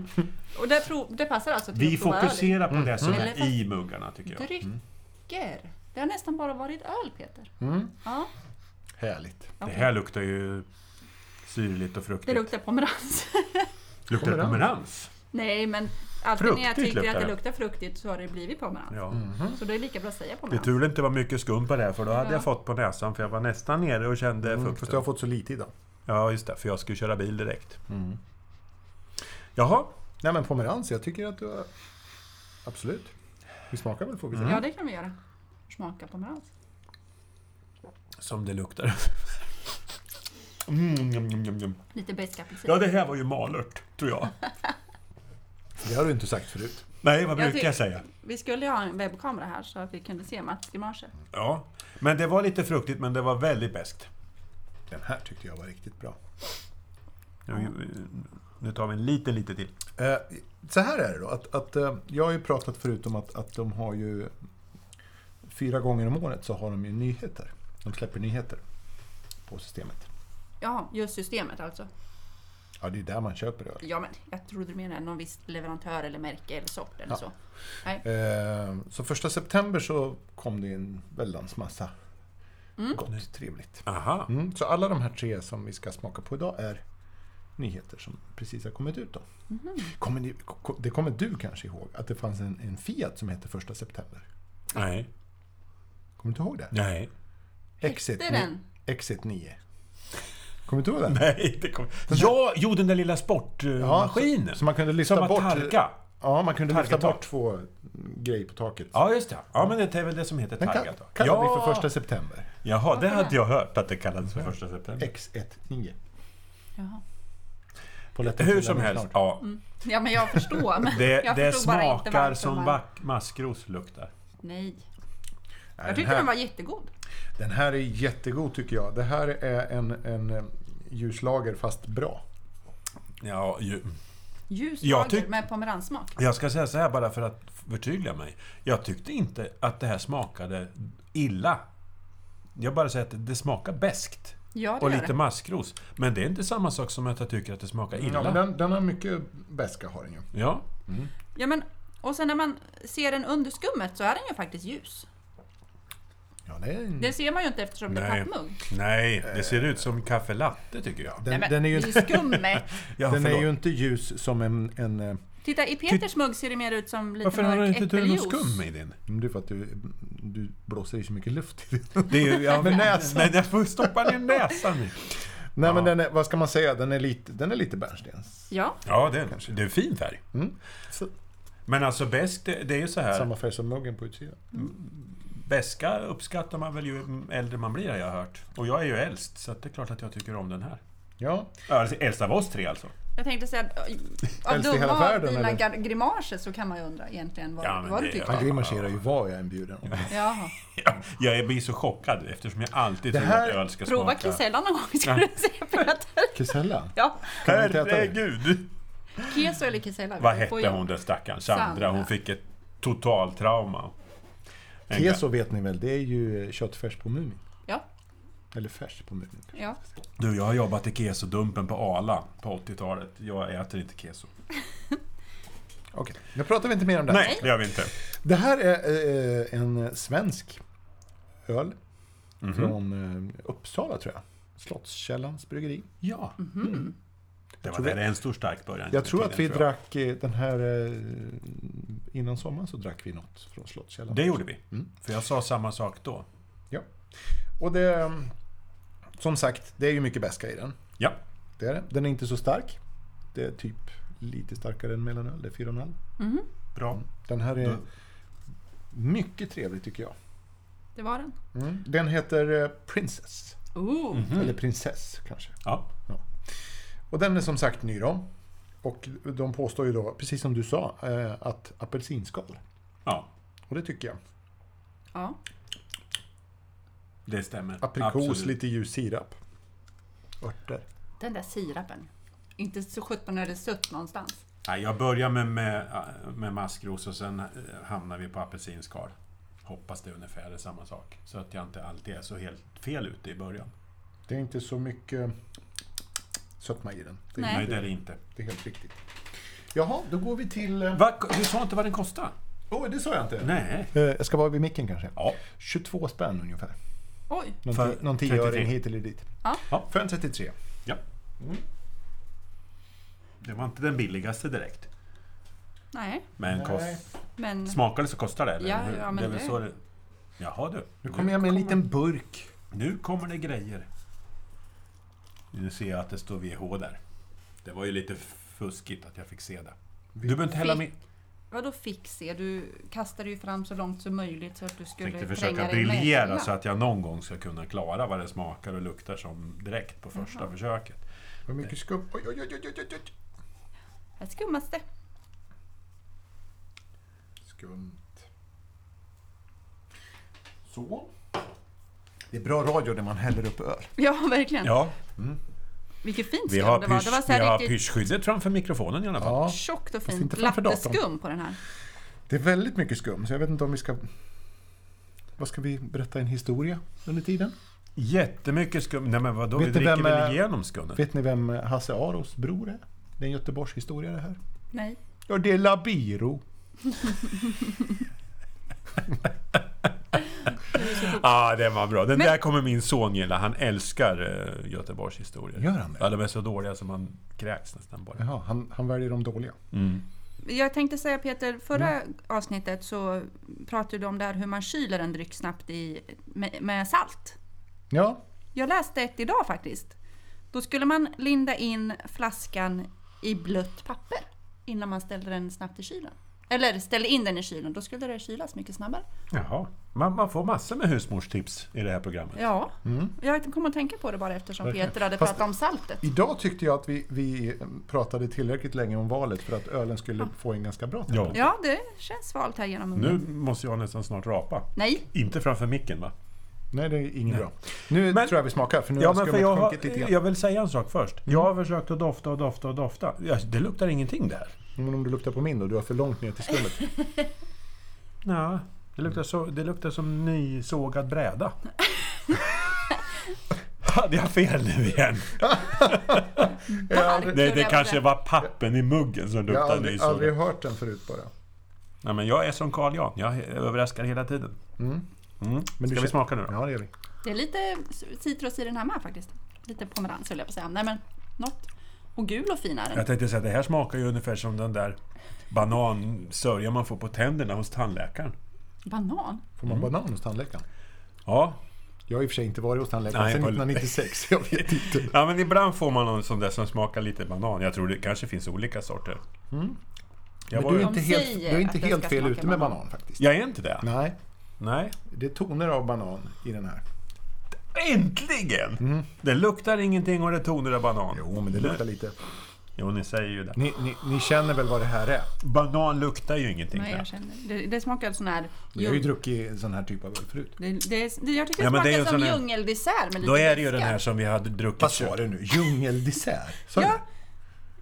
Och det, prov, det passar alltså till Vi att prova fokuserar på det som Mm. är i muggarna, tycker öl. jag. Drycker. Det har nästan bara varit öl, Peter. Mm. Ja, Härligt. Det okej. här luktar ju syrligt och Det fruktigt. luktar pomerans. Luktar det Pomerans. pomerans? Nej, men alltid när jag Fruktigt tycker luktar att det det. luktar fruktigt så har det blivit pomerans. Ja. Mm. Så det är lika bra att säga Det är pomerans. tur det inte var mycket skum på det här, för då hade Ja. jag fått på näsan, för jag var nästan nere och kände Mm, fast fukten. jag har fått så lite idag. Ja, just det, för jag skulle köra bil direkt. Mm. Jaha, Nej men pomerans, jag tycker att du har... Absolut. Vi smakar väl får vi se. Ja, det kan vi göra. Smaka pomerans. som det luktar. Mm, njam, njam, njam, njam. Lite besk apelsin. Ja, det här var ju malört, tror jag. Det har du inte sagt förut. Nej, vad Jag brukar ty- jag säga? Vi skulle ju ha en webbkamera här så att vi kunde se Mats grimaser. Ja, men det var lite fruktigt, men det var väldigt beskt. Den här tyckte jag var riktigt bra. Nu- Nu tar vi en liten, liten till. Eh, Så här är det då, att, att eh, jag har ju pratat förut om att, att de har ju fyra gånger om året så har de ju nyheter. De släpper nyheter på systemet. Jaha, just systemet alltså. Ja, det är ju där man köper öl. Ja, men jag trodde du menade någon viss leverantör eller märke eller sort eller Ja. så. Nej. Eh, Så första september så kom det en väldans massa gott, trevligt. Aha. Mm, så alla de här tre som vi ska smaka på idag är nyheter som precis har kommit ut. Då. Mhm. Kommer ni, ko- det kommer du kanske ihåg, att det fanns en, en Fiat som hette första september. Nej. Kommer du inte ihåg det? Nej. Exit, Hette ni- den? Exit 9. Kommer du inte ihåg den? Nej, det kom... Ja, jo den där lilla sportmaskinen. så, så man kunde lyfta Som att bort... targa. Ja, man kunde lyfta Targetak. bort två grejer på taket. Ja, just det. Ja, men det är väl det som heter Den kall, taggat. då. kallar ja. vi för första september. Jaha, det hade jag hört att det kallades för första september. X1 9. Jaha. På lätt- Hur som helst, snart. ja. Ja, men jag förstår. Men Det, Mm. jag det förstod bara inte smakar varför som man- back- maskros luktar. Nej. Nej, Jag den, tyckte den här, var jättegod. den här är jättegod tycker jag. Det här är en, en eh, ljuslager fast bra. Ja, ju, Ljus Jag lager tyck- med pomeranssmak. jag ska säga så här bara för att förtydliga mig. Jag tyckte inte att det här smakade illa. Jag bara säger att det smakar beskt Ja, det och gör lite det. maskros. Men det är inte samma sak som att jag tycker att det smakar Ja, men illa. den, den har mycket beska har den ju. Ja, Ja, men, och sen när man ser den under skummet så är den ju faktiskt ljus. Ja, det är en, Det ser man ju inte eftersom det Mm. Nej. är pappmugg. Nej, det ser ut som kaffe latte tycker jag. den, Nej, men, den är ju, I skummet. Ja, den är förlåt. ju inte ljus som en... en eh, Titta, i Peters mugg ser det mer ut som lite Varför har du mörk inte du någon äppeljuice. skum i din? det är för att du, du blåser i så mycket luft i det. Det är ju, ja, Med näsan. Men jag får stoppa ner näsan i. Nej men den är, vad ska man säga, den är lite, den är lite bärnstens. Ja, Ja, det är, det är fin färg. Men alltså bäsk, det, det är ju så här. Mm. Samma färg som muggen på utsidan. Bäska uppskattar man väl ju äldre man blir har jag hört. Och jag är ju äldst, så att det är klart att jag tycker om den här. Ja, Ja, Alltså, äldst av oss tre alltså. jag tänkte säga att av Äldst i hela dumma av världen, dina eller? gar- grimaser så kan man ju undra egentligen vad, Ja, men vad det- du tycker. han grimaserar ju vad jag än bjuder om. Jaha. Ja, Jag blir så chockad eftersom jag alltid Det tror här- att öl ska Prova smaka... kisella någon gång ska du se Peter. Kisella? Ja, Kan vi inte äta det? Herregud! keso eller kisella. Vad vi får hette ju- hon den stackaren? Sandra. Sandra. Hon fick ett totaltrauma. En Keso vet ni väl, det är ju eh, köttfärs på Mumin. Ja, Eller färs på Mumin. kanske. ja. Du, jag har jobbat i kesodumpen på Ala på 80-talet. Jag äter inte keso. Okej, nu pratar vi inte mer om det. här. Nej, det gör vi inte. Det här är eh, en svensk öl Mhm. Mhm. från eh, Uppsala tror jag. Slottskällans bryggeri. Ja. Det var tror där vi- det är en stor stark början. Jag tror att vi Tydligen, drack eh, den här... eh, Innan sommaren så drack vi något från Slottskällan. Det gjorde vi. Mm. För jag sa samma sak då. Och det... Som sagt, det är ju mycket beska i den. Ja. Det är det. Den är inte så stark. Det är typ lite starkare än mellanöl, det är 4,5. Bra. Den här är Då- mycket trevlig tycker jag. det var den. Mm. Den heter eh, Princess, Ooh. Mm. eller Prinsess kanske. Ja. Och den är som sagt ny då. Och de påstår ju då, precis som du sa, eh, att apelsinskal. ja. Och det tycker jag. Ja. Det stämmer. Aprikos, Absolut. lite ljus sirap. Örter. Den där sirapen. Inte så sjutton är det sött någonstans. Nej, jag börjar med, med, med maskros och sen eh, hamnar vi på apelsinskal. Hoppas det ungefär är samma sak. Så att jag inte alltid är så helt fel ute i början. Det är inte så mycket sötma i den. Det är, Nej. Nej, Helt, det är det inte. det är helt riktigt. Jaha, då går vi till... eh, Va? Du sa inte vad den kostar? Oj, det sa jag inte. Nej. Eh, Jag ska vara vid micken kanske. Ja. 22 spänn ungefär. Oj, Någon, För ti- någon 33. tioöring hit eller dit. Ja. Ja. För en 33. Ja. Mm. Det var inte den billigaste direkt. nej. Men Nej. kost, Men smakar det så kostar det, eller? Ja, hur? ja, men det är väl det- så det... Jaha du. Nu kommer jag med en liten burk. Nu kommer det grejer. Nu ser jag att det står VH där. Det var ju lite fuskigt att jag fick se det. Du behöver inte hälla med. vadå fick se? Du kastade ju fram så långt som möjligt så att du skulle tänkte tränga försöka dig med. briljera Ja. så att jag någon gång ska kunna klara vad det smakar och luktar som direkt på första försöket. Vad mycket skum. Oj, oj, oj, oj, oj, oj, oj. Här skummas det. Skumt. Så. Det är bra radio när man häller upp öl. Ja, verkligen. Ja, Vilket fint vi skum har, det var. pysch, Det var så vi här har riktigt pyschskyddet framför mikrofonen i alla fall. Ja, tjockt och inte fint framför datorn. latteskum på den här. det är väldigt mycket skum, så jag vet inte om vi ska... Vad ska vi berätta en historia under tiden? Jättemycket skum. Nej men vadå, Vet vi ni dricker vem, väl eh, igenom skummet? Vet ni vem Hasse Aros bror är? Det är en Göteborgshistoria det här. Nej. Ja, det är Labiro. Ja, ah, den var bra. Den där kommer min son gilla. Han älskar eh, Göteborgs historier. Gör han det? Ja, de är så dåliga som han kräks nästan bara. Jaha, han, han väljer de dåliga. Mm. Jag tänkte säga Peter, förra Mm. avsnittet så pratade du om det här hur man kyler en dryck snabbt i, med, med salt. Ja, Jag läste ett idag faktiskt. Då skulle man linda in flaskan i blött papper innan man ställde den snabbt i kylen. Eller ställde in den i kylen, då skulle det kylas mycket snabbare. Jaha. Man, man får massor med husmorstips i det här programmet. Mm. Ja, jag kom att tänka på det bara eftersom Verkligen. Peter hade Fast- pratat om saltet. idag tyckte jag att vi, vi pratade tillräckligt länge om valet för att ölen skulle få en ganska bra Ja. Ja, det känns svalt här genom munnen. Nu måste jag nästan snart rapa. Nej, Inte framför micken va? Nej, det är inget bra. Nu Men- tror jag vi smakar, för nu Ja, har men för skummet jag, sjunkit lite har, grann. jag vill säga en sak först. Jag har försökt att dofta och dofta och dofta. Ja, det luktar ingenting där. Men om du luktar på min då, du har för långt ner till skummet. Ja, det, luktar så, det luktar som nysågad bräda. Hade jag fel nu igen? Jag har aldrig, Nej, det kanske var pappen i muggen som jag har luktade aldrig, aldrig nysågad. hört den förut bara. Nej, men jag är som Carl Jan. Jag överraskar hela tiden. Mm. Mm. Men du Ska vi känner- smaka nu då? Ja, det är vi. det är lite citrus i den här med faktiskt. Lite pomerans höll jag på att säga. Nej men, något. Och gul och fin är den. Jag tänkte säga att det här smakar ju ungefär som den där banansörjan man får på tänderna hos tandläkaren. Banan? Får man banan hos tandläkaren? Ja, Jag har i och för sig inte varit hos tandläkaren Nej, sedan på- 1996. Jag vet inte. Ja, men ibland får man någon sån där som smakar lite banan. Jag tror det kanske finns olika sorter. Jag, Mm. Men var, du är ju- inte De helt, du säger är att inte den helt ska fel smaka ute med banan. banan faktiskt. jag är inte det? Nej, Nej. det är toner av banan i den här. Äntligen! Det luktar ingenting och det tonar av banan. Mm. Jo, men det luktar lite. Jo, ni säger ju det. Ni, ni, ni känner väl vad det här är? Banan luktar ju ingenting. Nej, knappt. jag känner. Det, det smakar sån här... Vi har ju djung- druckit sån här typ av öl förut. Det, det, det, jag tycker det Ja, men det är smakar som ju sån här- djungeldessert med lite Då är det ju den vätska. här som vi hade druckit. Vad sa du nu? Djungeldessert? Sa du Ja.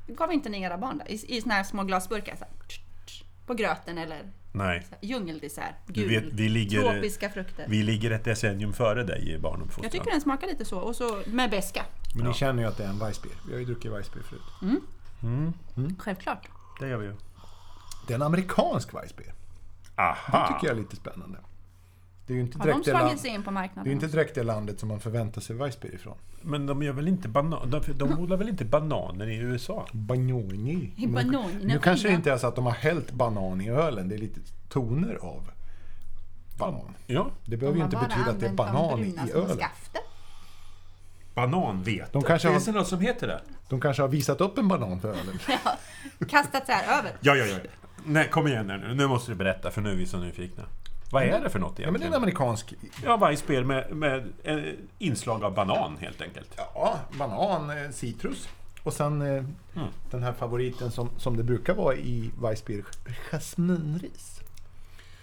det? Gav inte ni era barn det? I, i såna här små glasburkar? Så här, tsch, tsch, på gröten eller Nej. så här, djungeldessert. Du Gul. vet, vi ligger, tropiska frukter. vi ligger ett decennium före dig i jag barnuppfostran. tycker den smakar lite så. Och så med beska. Men ni känner ju att det är en Weissbier. Vi har ju druckit Weissbier förut. Mm. Mm. Självklart. Det gör vi ju. Det är en amerikansk Weissbier. Det Aha! tycker jag är lite spännande. Det är ju inte Har de direkt, det, land, slagit sig in på marknaden? det, är ju inte direkt det landet som man förväntar sig Weissbier ifrån. Men de gör väl inte banan... De, de odlar väl inte bananer i USA? Banoni. I banan. Nu kanske det inte är så att de har hällt banan i ölen. Det är lite toner av banan. Ja. Det behöver ju inte betyda att det är banan i ölen. Bananvete. De kanske Finns har- det något som heter det? De kanske har visat upp en banan för ölen. Kastat så här över. Ja, ja, ja. Nej, kom igen här nu. Nu måste du berätta, för nu är vi så nyfikna. Vad är det för något Ja, men det är egentligen? en amerikansk... Ja, Weissbier med, med eh, inslag av banan helt enkelt. Ja, banan, eh, citrus. Och sen eh, den här favoriten som, som det brukar vara i Weissbier, jasminris.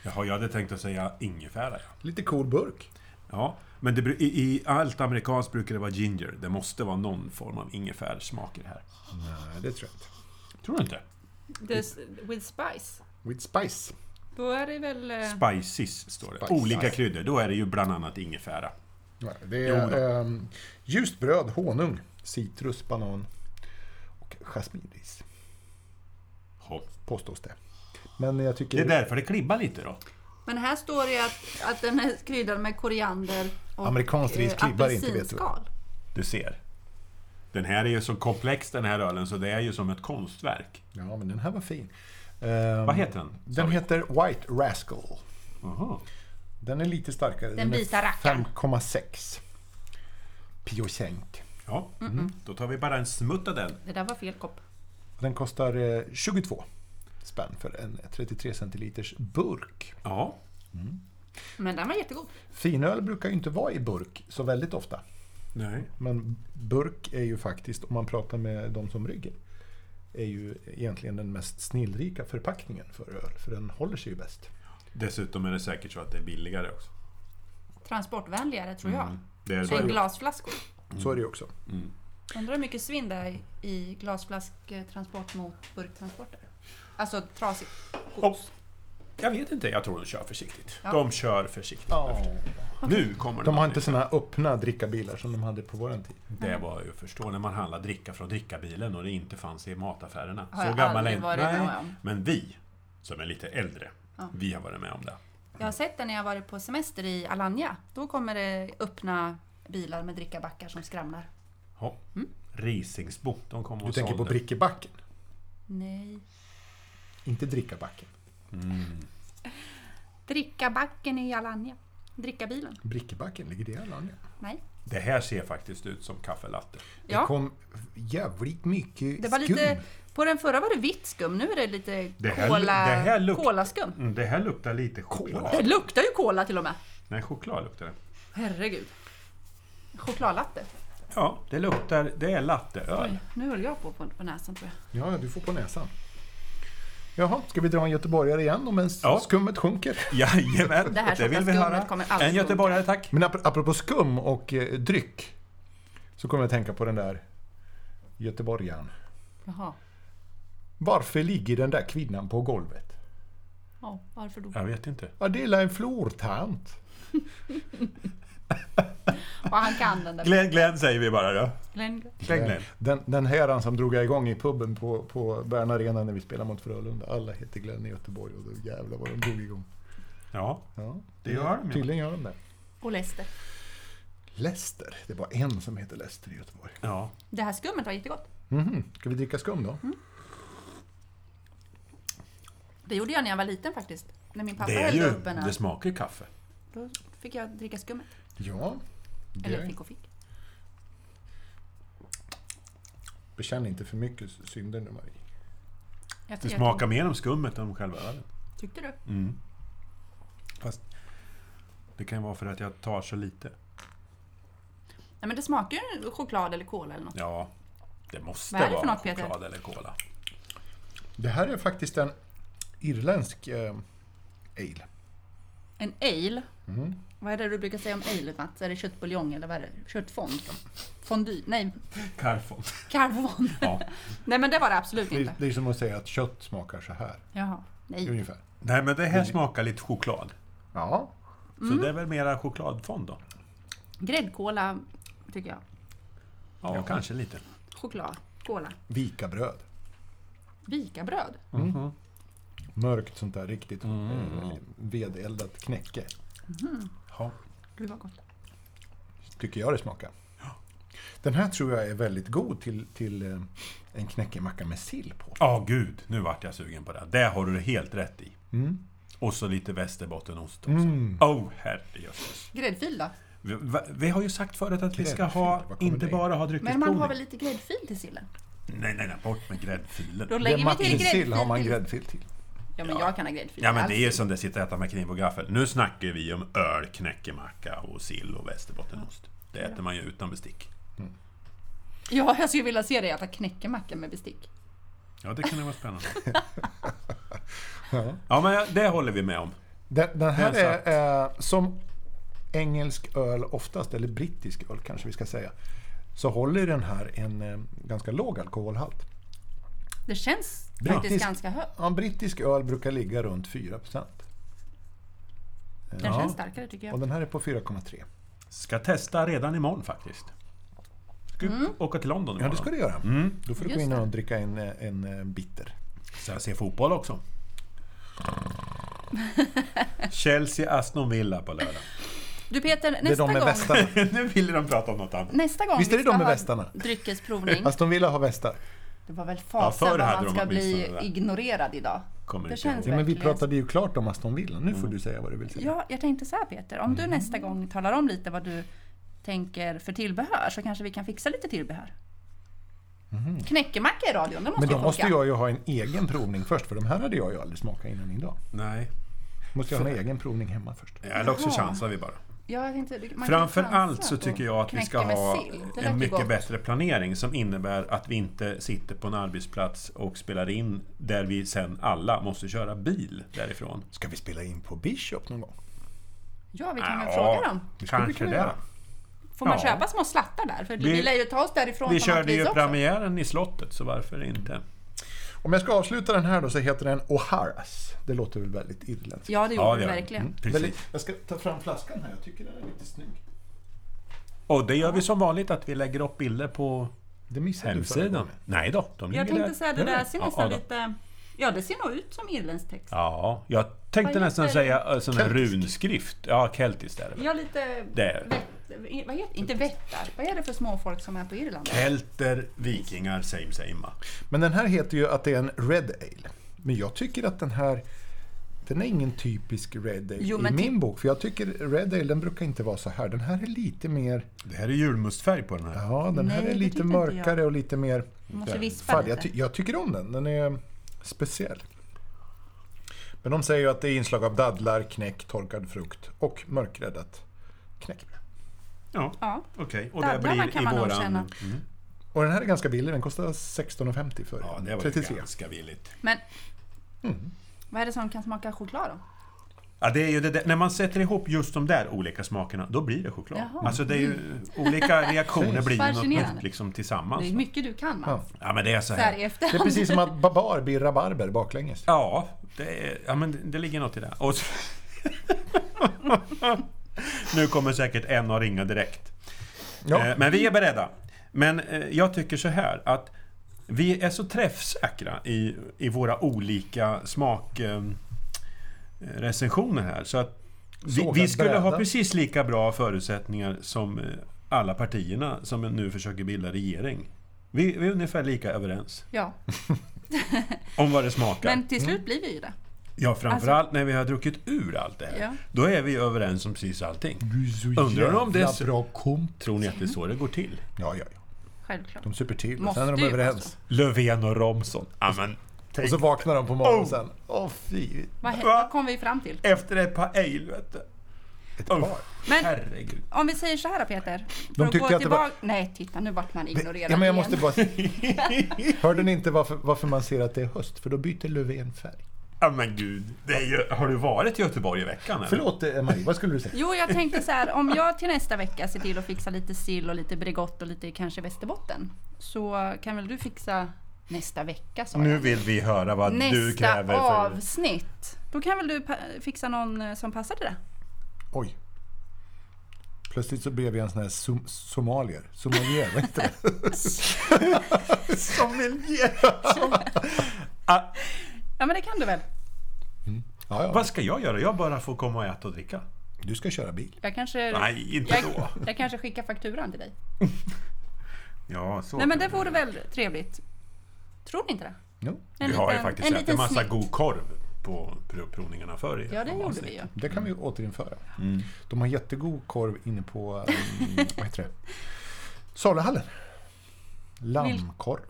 Jaha, jag hade tänkt att säga ingefära. ja. Lite cool burk. Ja, men det, bru- i, i allt amerikanskt brukar det vara ginger. Det måste vara någon form av ingefärssmak i det här. Nej, det tror jag inte. Tror du inte? This, with spice. With spice. Då är det väl... eh, Spices står det. Spices. Olika kryddor. Då är det ju bland annat ingefära. Nej, Det Jo då. är ehm, ljust bröd, honung, citrus, banan och jasminris. Ja. Påstås det. Men jag tycker... Det är därför det klibbar lite då. Men här står det att, att den är kryddad med koriander och Amerikanskt ris eh, klibbar inte, vet du. apelsinskal. Du ser. Den här är ju så komplex den här ölen, så det är ju som ett konstverk. Ja, men den här var fin. Ehm, Vad heter den? Den heter White Rascal. Aha. Den är lite starkare. Den, vita är rackaren. 5,6 procent. Ja, Mm. då tar vi bara en smutt av den. Det där var fel kopp. Och Den kostar eh, 22 spänn för en 33 centiliters burk. Ja. Men den var jättegod. Finöl brukar ju inte vara i burk så väldigt ofta. Nej. Men burk är ju faktiskt, om man pratar med de som brygger, är ju egentligen den mest snillrika förpackningen för öl. För den håller sig ju bäst. Dessutom är det säkert så att det är billigare också. Mm. transportvänligare tror Mm. jag. Det är Så en det. glasflaskor. Så är det ju också. Undrar hur mycket svinn det är i glasflasktransport mot burktransporter. Alltså trasigt. Och, jag vet inte, jag tror de kör försiktigt. Ja. De kör försiktigt. Nu kommer det De har någonting. inte såna här öppna drickabilar som de hade på våran tid. Mm. Det var ju förstå när man handlade dricka från drickabilen och det inte fanns i mataffärerna. Har jag aldrig är- varit Nej, med om. Men vi, som är lite äldre, Ja. vi har varit med om det. Jag har sett det när jag har varit på semester i Alanya. Då kommer det öppna bilar med drickabackar som skramlar. Ja. Mm. Risingsbo, de kom och Du tänker på sålde. Brickebacken, Nej. inte Drickabacken. Drickabacken i Alanya. Drickabilen. Brickebacken, ligger det i Arlanda? Nej. Det här ser faktiskt ut som kaffelatte. Det Ja, kom jävligt mycket det var skum. lite... På den förra var det vitt skum, nu är det lite Det här- cola, det här luktar- kolaskum. Mm, det här luktar lite choklad. Det luktar ju cola till och med. Nej, choklad luktar det. Herregud. Chokladlatte. Ja, det luktar... Det är latteöl. Nu höll jag på på, på näsan tror jag. Ja, du får på näsan. Jaha, ska vi dra en göteborgare igen om ens Ja. skummet sjunker? Jajamän, Det här vill vi skummet höra. kommer alltid En göteborgare, tack. Men ap- apropå skum och eh, dryck så kommer jag att tänka på den där göteborgaren. Jaha. Varför ligger den där kvinnan på golvet? Ja, varför då? Jag vet inte. Ja, det är en flortant. Och han kan den där. Glenn, Glenn säger vi bara då. Glenn- Glenn, Glenn. Den, den här han som drog jag igång i puben på, på Bern Arena när vi spelade mot Frölunda. Alla heter Glenn i Göteborg och då jävlar vad de drog igång. Ja, Ja, det gör de ju. tydligen gör de det. Och Lester. Lester, det var en som heter Lester i Göteborg. Ja. Det här skummet var jättegott. Mhm, Ska vi dricka skum då? Mm. Det gjorde jag när jag var liten faktiskt. När min pappa Det är hällde ju... upp en öl. Det smakar ju kaffe. Då fick jag dricka skummet. Ja. Eller Det, fick och fick. bekänn inte för mycket synder nu Marie. Jag Det tycker- smakar mer om skummet än om själva ölen. Tyckte du? Mm. Fast det kan ju vara för att jag tar så lite. Nej men det smakar ju choklad eller cola eller något. Ja, det måste Vad är det för vara något, Peter? choklad eller cola. Det här är faktiskt en irländsk eh, ale. En ale. Mm. Vad är det du brukar säga om ale Mats? Är det köttbuljong eller vad är det? Köttfond? Fondy? Nej, Carfond. karvon. Ja. Nej men det var det absolut Det inte. är, det är som att säga att kött smakar så här. Jaha. Nej. Ungefär. Nej, men det Mm. här smakar lite choklad. Ja. Så Mm. det är väl mera chokladfond då? Gräddkola tycker jag. Ja, kanske lite. Choklad. Kola. Vikabröd. Vikabröd. Mm. Mörkt sånt där riktigt eh, vedeldat knäcke. Ja. Gud vad gott. Tycker jag det smakar. Den här tror jag är väldigt god till, till eh, en knäckemacka med sill på. Ja, gud, nu vart jag sugen på det. Det har du helt rätt i. Mm. Och så lite västerbottenost också. Oh, herrejösses. Gräddfil då? Vi, va- vi har ju sagt förut att vi ska Gräddfil, ha, vad kommer inte det? bara ha Men man har dryckesprovning. väl lite gräddfil till sillen? Nej, nej, nej, bort med gräddfilen. Då Det lägger vi till matjessill gräddfil. har man till- gräddfil till. Ja men jag kan ha gräddfil. Ja men det är Alltså. ju som det sitter och äta med kniv och gaffel. Nu snackar vi om öl, knäckemacka och sill och västerbottenost. Det äter man ju utan bestick. Ja, jag skulle vilja se dig äta knäckemacka med bestick. Ja, det kan vara spännande. ja, men ja, det håller vi med om. Den, den här Den är, eh, som engelsk öl oftast, eller brittisk öl kanske vi ska säga, så håller den här en eh, ganska låg alkoholhalt. Det känns faktiskt Brittisk. ganska högt. Ja, en brittisk öl brukar ligga runt 4 procent. Den känns starkare tycker Och jag. den här är på 4,3. Ska testa redan imorgon faktiskt. Ska mm. åka till London Ja, imorgon. det ska du göra. Då får du gå Just in det. och dricka en, eh, en eh, bitter. Så jag ser fotboll också. Chelsea, Aston Villa på lördag. Du Peter, nästa Det är de med gång... västarna. nu ville de prata om något annat. Nästa gång Visst är det vi de ska med ha västarna? dryckesprovning. Aston Villa har västar. Det var väl Ja, fasen förr vad hade man de ska bli åtminstone det. ignorerad idag. Kommer det inte känns ihåg. Ja, men vi verkligen så. pratade ju klart om Aston Villa. Nu får du säga vad du vill säga. Ja, jag tänkte så här Peter, om du nästa gång talar om lite vad du tänker för tillbehör så kanske vi kan fixa lite tillbehör. Mhm. Knäckemacka i radion, det måste Men då ju måste funka. jag ju ha en egen provning först, för de här hade jag ju aldrig smakat innan idag. Nej, Måste jag ha en egen provning hemma först. eller också Jaha. chansar vi bara. Ja, jag tänkte, man kan Framför chansa allt så på tycker jag att vi ska knäcke med ha sill. Det lät ju en mycket gott. bättre planering som innebär att vi inte sitter på en arbetsplats och spelar in där vi sen alla måste köra bil därifrån. Ska vi spela in på Bishop någon gång? Ja, vi kan väl Ja, fråga dem. Det skulle vi Kanske kunna det. göra. Får man Ja. köpa små slattar där? För vi, Vi- vi lär ju ta oss därifrån Vi på något körde vis ju också. premiären i slottet, så varför inte? Om jag ska avsluta den här då så heter den O'Haras. Det låter väl väldigt irländskt? Ja, det gjorde Ja, vi det gör vi. Mm, verkligen. Precis. Jag ska ta fram flaskan här, jag tycker den är lite snygg. Och det gör vi som vanligt, att vi lägger upp bilder på Det missade du förra hemsidan. gången. Nej då, de ligger Jag tänkte säga, det där ser Mm. Ja, nästan ja då. lite... Ja, det ser nog ut som irländsk text. Ja, jag tänkte Vad nästan heter det? säga eh, sån här Keltisk. runskrift. Ja, keltiskt är det väl? Ja, lite... Det är det. Vett, vad heter, inte vättar. Vad är det för småfolk som är på Irland? Kelter, vikingar, same same. va? Men den här heter ju att det är en Red Ale. Men jag tycker att den här den är ingen typisk Red Ale Jo, i men min bok. För jag tycker Red Ale den brukar inte vara så här. Den här är lite mer, Det här är julmustfärg på den här. ja den Nej, här det är lite tycker inte jag. mörkare och lite mer Man måste Där. vispa färg. lite. Jag, ty- jag tycker om den, den är speciell. Men de säger ju att det är inslag av dadlar, knäck, torkad frukt och mörkgräddat knäckebröd. Ja, ja. okej. Och det Dadlarna blir kan i man nog våran... känna. Mm. Och den här är ganska billig, den kostar 16,50 för Ja, det var ju 33. ganska billigt. Men... Mm. Vad är det som kan smaka choklad då? Ja, det är ju det där. När man sätter ihop just de där olika smakerna, då blir det choklad. Jaha. Alltså det är ju, olika reaktioner blir ju något Fascinerande. nytt liksom tillsammans. Det är mycket du kan Mats. Ja, men det är så Så här här. i Alltså. Det är efterhand. precis som att babar blir rabarber baklänges. Ja, det, är, ja, men det- det ligger något i det. Och så... nu kommer säkert en att ringa direkt. Ja, Eh, Men vi är beredda. Men eh, jag tycker så här att vi är så träffsäkra i, i våra olika smakrecensioner här. Så att vi, Sågad vi skulle ha bräda. precis lika bra förutsättningar som eh, alla partierna som nu försöker bilda regering. Vi, vi är ungefär lika överens Ja, om vad det smakar. men till slut blir vi ju det. ja, framförallt när vi har druckit ur allt det här. Ja. Då är vi överens om precis allting. Du är så Undrar om det är jävla så- bra komp. Tror ni att det är så det går till? Ja, ja, ja. Självklart. De super till och Måste sen är de ju, överens. alltså. Löfven och Romson. Ja, men, Och så vaknar de på Oh. morgonen sen. Åh fy, Vad, hä- vad kom vi fram till? Efter ett par ale, vet du. ett Oh. par. Men Herregud. om vi säger så här då Peter. För att tyckte gå att det var- tillbaka- Nej, titta nu vart man ignorerad Ja, men jag igen. måste bara... Hörde ni inte varför, varför man ser att det är höst? För då byter Löfven färg. Ja men gud. Det är ju, har du varit i Göteborg i veckan eller? Förlåt eh, Marie, vad skulle du säga? Jo, jag tänkte så här. Om jag till nästa vecka ser till att fixa lite sill och lite Bregott och lite kanske Västerbotten. Så kan väl du fixa nästa vecka sa Nu jag. vill vi höra vad du Nästa kräver för... avsnitt. Då kan väl du pa- fixa någon eh, som passar till det? Oj. Plötsligt så blev jag en sån här som, somalier. Somalier, vad heter det? Sommelier! Ja, men det kan du väl? Ja, ja. Vad ska jag göra? Jag bara får komma och äta och dricka? Du ska köra bil. Jag kanske... Nej, inte då. Jag, jag kanske skickar fakturan till dig. Ja, så. Nej men det kan vore väl trevligt. Tror ni inte det? Jo, En Vi har ju liten- faktiskt en ätit en liten massa snitt. god korv på pro- provningarna förr. i Ja det gjorde avsnitt. vi ju. det kan vi Mm. ju återinföra. De har jättegod korv inne på... mm, vad heter det? Saluhallen. Lammkorv.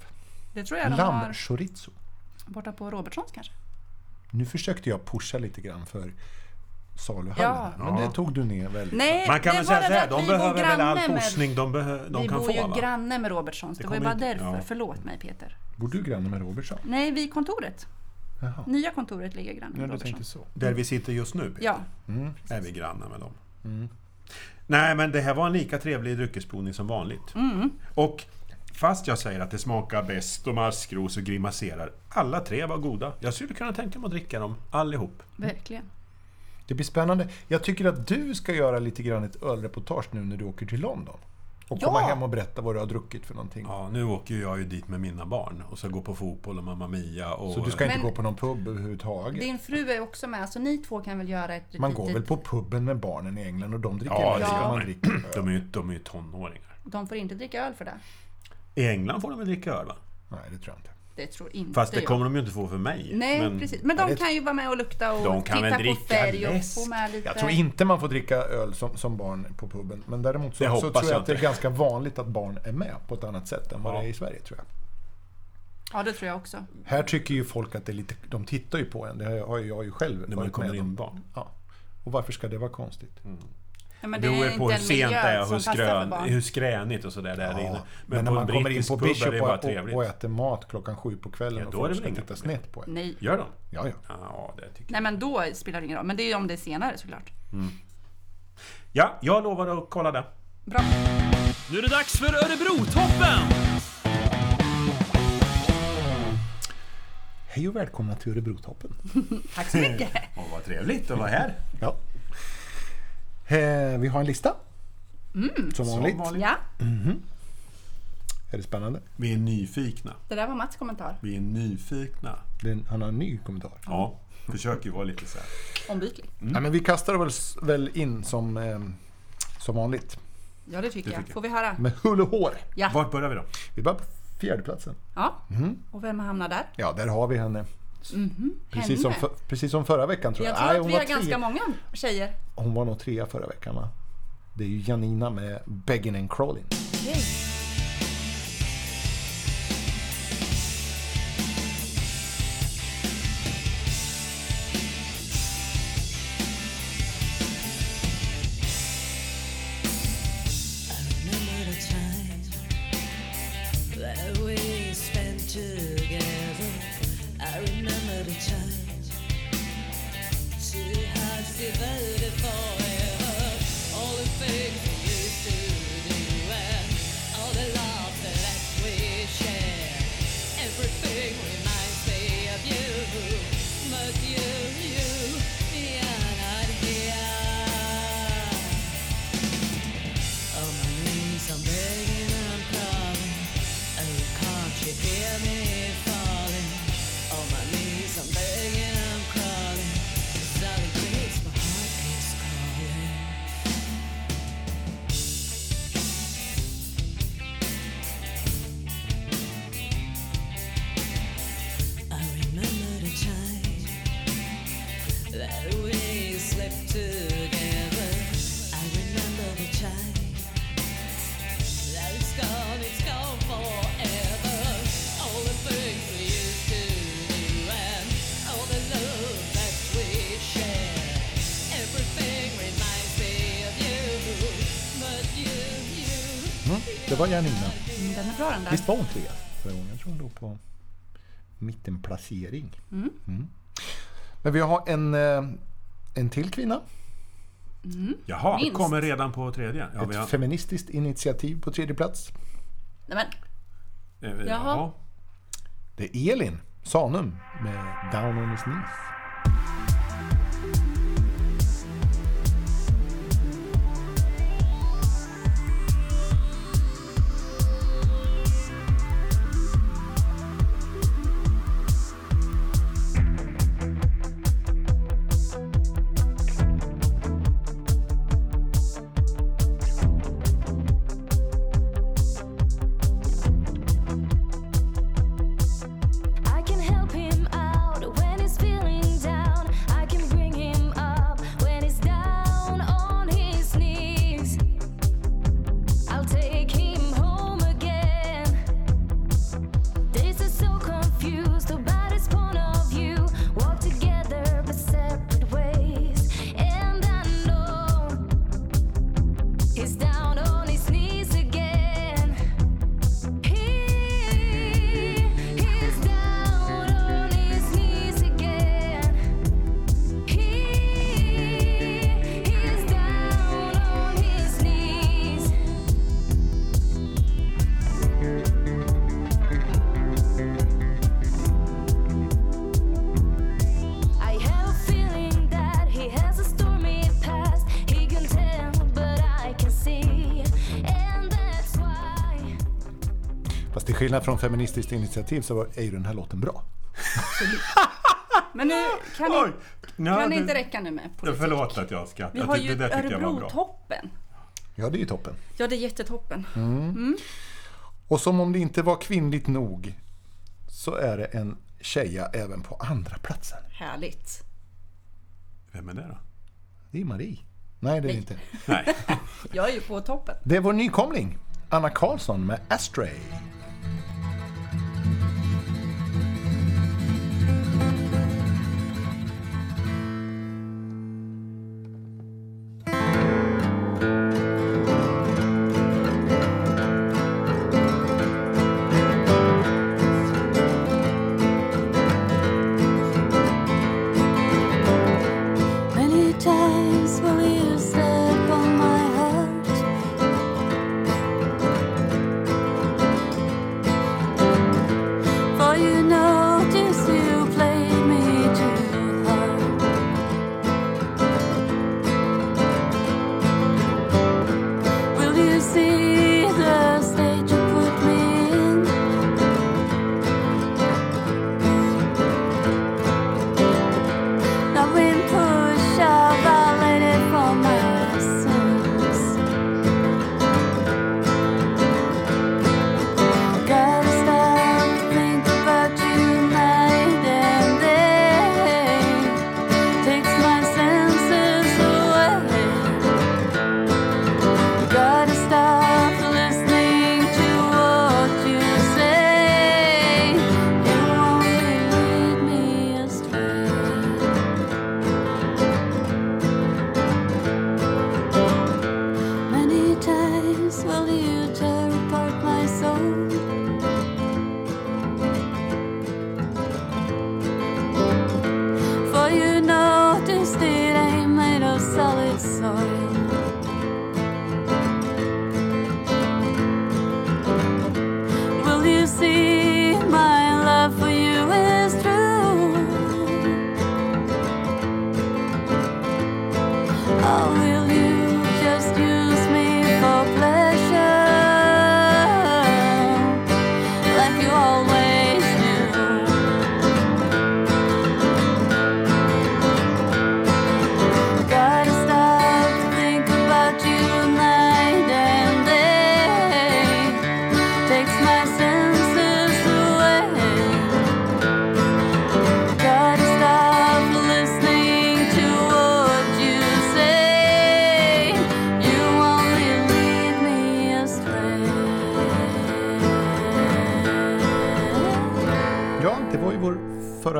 Det tror jag de har Lammchorizo. borta på Robertsons kanske. Nu försökte jag pusha lite grann för saluhallen. Ja. här, Men det tog du ner väldigt. Nej, Man kan det väl var säga det så här, att vi de bor behöver väl all granne med- forskning de, behö- de Vi kan bor ju få va? granne med Robertsons. Det, var ju bara kommer inte- därför. ja. Förlåt mig Peter. Bor du granne med Robertsson? Nej, vid kontoret. Jaha. Nya kontoret ligger granne med Ja, du Robertson. tänkte så. Där vi sitter just nu Peter, Ja, är vi grannar med dem. Nej men det här var en lika trevlig dryckesprovning som vanligt. Och fast jag säger att det smakar bäst och maskros och grimaserar, alla tre var goda. Jag skulle kunna tänka mig att dricka dem allihop. verkligen. Det blir spännande. Jag tycker att du ska göra lite grann ett ölreportage nu när du åker till London. Och Ja! komma hem och berätta vad du har druckit för någonting. Ja, nu åker ju jag ju dit med mina barn och ska gå på fotboll och Mamma Mia och... Så du ska inte Men- gå på någon pub överhuvudtaget. Din fru är också med, så ni två kan väl göra ett Man litet- går väl på puben med barnen i England och de dricker Ja, öl. det Ja. gör Man man. dricker öl. De är ju, de är ju tonåringar. De får inte dricka öl för det. I England får de väl dricka öl va? Nej, det tror jag inte. Det tror inte Fast det jag. kommer de ju inte få för mig. Nej, men precis. Men de det- kan ju vara med och lukta och De kan väl titta på dricka färg och läsk. få med lite... Jag tror inte man får dricka öl som, som barn på puben. Men däremot så, Det så hoppas tror jag, jag att det är inte. ganska vanligt att barn är med på ett annat sätt än vad Ja. det är i Sverige tror jag. Ja, det tror jag också. Här tycker ju folk att det är lite... De tittar ju på en. Det har jag- har ju jag ju själv När man kommer in barn. Mm. Ja. Och varför ska det vara konstigt? Ja, men Det beror inte på hur en miljö sent det är, som hur, passar för skrön, barn. hur skränigt och sådär där inne. Men, när på en man kommer in brittisk på pub är Bishop det och, bara och, trevligt. och äter mat klockan sju på kvällen Ja, och då är folk det ska väl inga titta problem. snett på en. Nej. Gör de? Ja, ja. Ja, det tycker Nej, men då spelar det ingen roll. Men det är ju om det är senare såklart. Ja, jag lovar att kolla det. Bra. Nu är det dags för Örebro-toppen! Hej och välkomna till Örebrotoppen. Tack så mycket. Åh, vad trevligt att vara här. Ja. Eh, vi har en lista. som, vanligt. Som vanligt. Ja, Är det spännande? Vi är nyfikna. det där var Mats kommentar. Vi är nyfikna. Det är en, han har en ny kommentar. Ja, försöker ju vara lite så här. Ombytlig. Mm. Nej, men vi kastar väl, s- väl in som, eh, som vanligt. Ja, det tycker Det jag. tycker Får vi höra? Med hull och hår. Ja. Vart börjar vi då? Vi börjar på fjärdeplatsen. ja. Mhm. Och vem hamnar där? Ja, där har vi henne. Precis som, Mhm, Henne? för, precis som förra veckan tror jag. Jag tror Nej, att hon, vi var har ganska trea. många tjejer. hon var nog trea förra veckan va? Det är ju Janina med Begging and Crawling. Remember the time that we spent together. I remember the time two hearts divided forever. All the things we used to do and all the love that we shared. Everything reminds me of you, but you, you, you're not here. Oh my knees, I'm begging, I'm crawling. Oh, can't you hear me falling? Oh my knees, I'm begging, I'm crawling. Solid grace, my heart is calling. I remember the time that we slept together. I remember the time that it's gone, it's gone forever. All the things we used to do and all the love that we shared. Everything reminds me of you, but you, you. Mm, det var Janina. Mm, Den är bra den där. Visst var hon trea förra gången? Jag tror hon låg på mittenplacering. Mm. Men vi har en, eh, en till kvinna. Jaha, Minst. kommer redan på tredje. Ja, vi Ett har, feministiskt initiativ på tredje plats. Nej, men, eh, jaha. Jaha. Det är Elin Sanum med Down on his knees. I can help him out when he's feeling down. I can bring him up when he's down on his knees. I'll take him home again. This is so confused about his point of view. Walk together but separate ways. And I know he's down on his knees again. He is down on his knees again. He is down on his knees. I have a feeling that he has a stormy past. He can tell, but I can see, and that's why. Fast till skillnad från Feministiskt initiativ så var- är ju den här låten bra. men nu kan ni, Oj! Nej, kan ni du- inte räcka nu med politik. Förlåt att jag skrattar. Vi har Det- ju det där tyckte jag var bra. Örebro-toppen. Ja, det är ju toppen. Ja, det är jättetoppen. Mm. Och som om det inte var kvinnligt nog så är det en tjeja även på andra platsen. Härligt. Vem är det då? Det är Marie. Nej, det är det inte. Nej. Jag är ju på toppen. Det är vår nykomling, Anna Karlsson med Astray. Many times will you step on my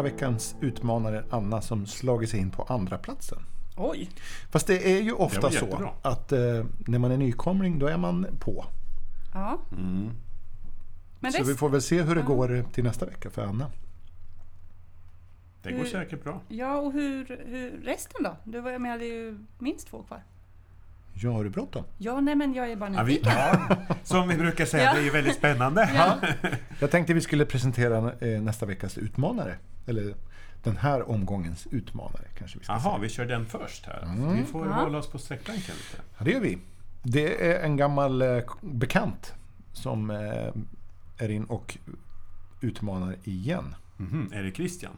veckans utmanare Anna som slagit sig in på andra platsen. Oj! Fast det är ju Det ofta var så jättebra. att eh, när man är nykomling då är man på. Ja. Mm. Men Så det, vi får väl se hur det går till nästa vecka för Anna. Det Mm. går säkert bra. Ja, och hur, hur resten då? Du var jag med, hade ju minst två kvar. Ja, har du bråttom? Ja, nej men jag är bara Ja, vi, nyfiken. ja, som vi brukar säga, Ja. det är ju väldigt spännande. Jag tänkte vi skulle presentera eh, nästa veckas utmanare. Eller den här omgångens utmanare kanske vi ska Jaha, säga. vi kör den först här. Vi får hålla oss på sträckbänken lite. Ja, det gör vi. Det är en gammal eh, k- bekant som eh, är in och utmanar igen. Mhm, Är det Christian?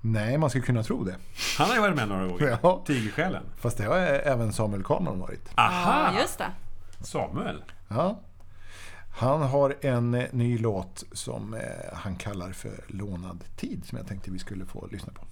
Nej, man skulle kunna tro det. Han har ju varit med några gånger. Ja. Tigersjälen. Fast det har eh, även Samuel Kanon varit. Aha! Ja, just det. Samuel. Ja. Han har en eh, ny låt som eh, han kallar för Lånad tid som jag tänkte vi skulle få lyssna på.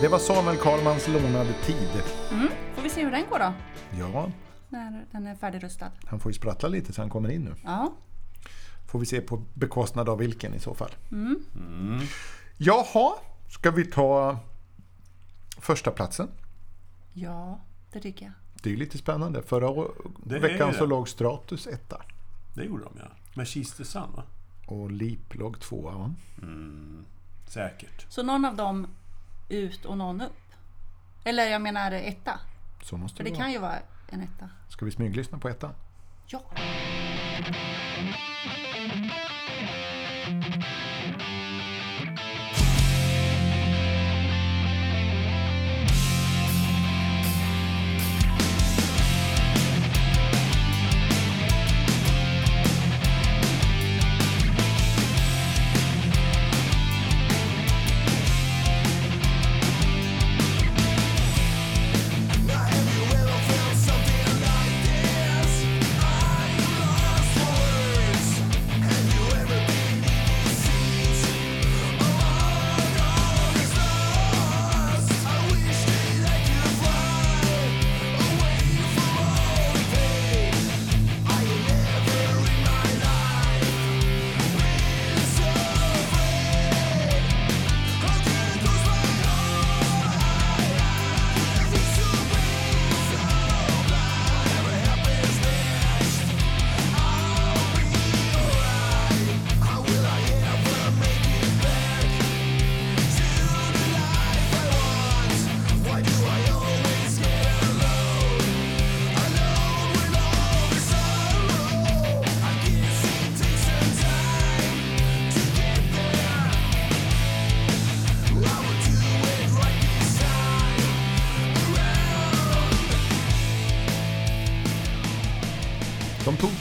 Det var Samuel Karlmans Lånad tid. Får vi se hur den går då? Ja, När den är färdigrustad. han får ju sprattla lite så han kommer in nu. Ja. Får vi se på bekostnad av vilken i så fall. Mm. Mm. Jaha, ska vi ta första platsen? Ja, det tycker jag. Det är ju lite spännande. Förra å- Det är veckan ju så det. låg Stratus etta Det gjorde de ja. Med Kistesand va? och Leap låg tvåa. va? Säkert. Så någon av dem ut och någon upp. Eller jag menar etta. Så måste För det det vara. kan ju vara en etta. Ska vi smyglyssna på ettan? Ja.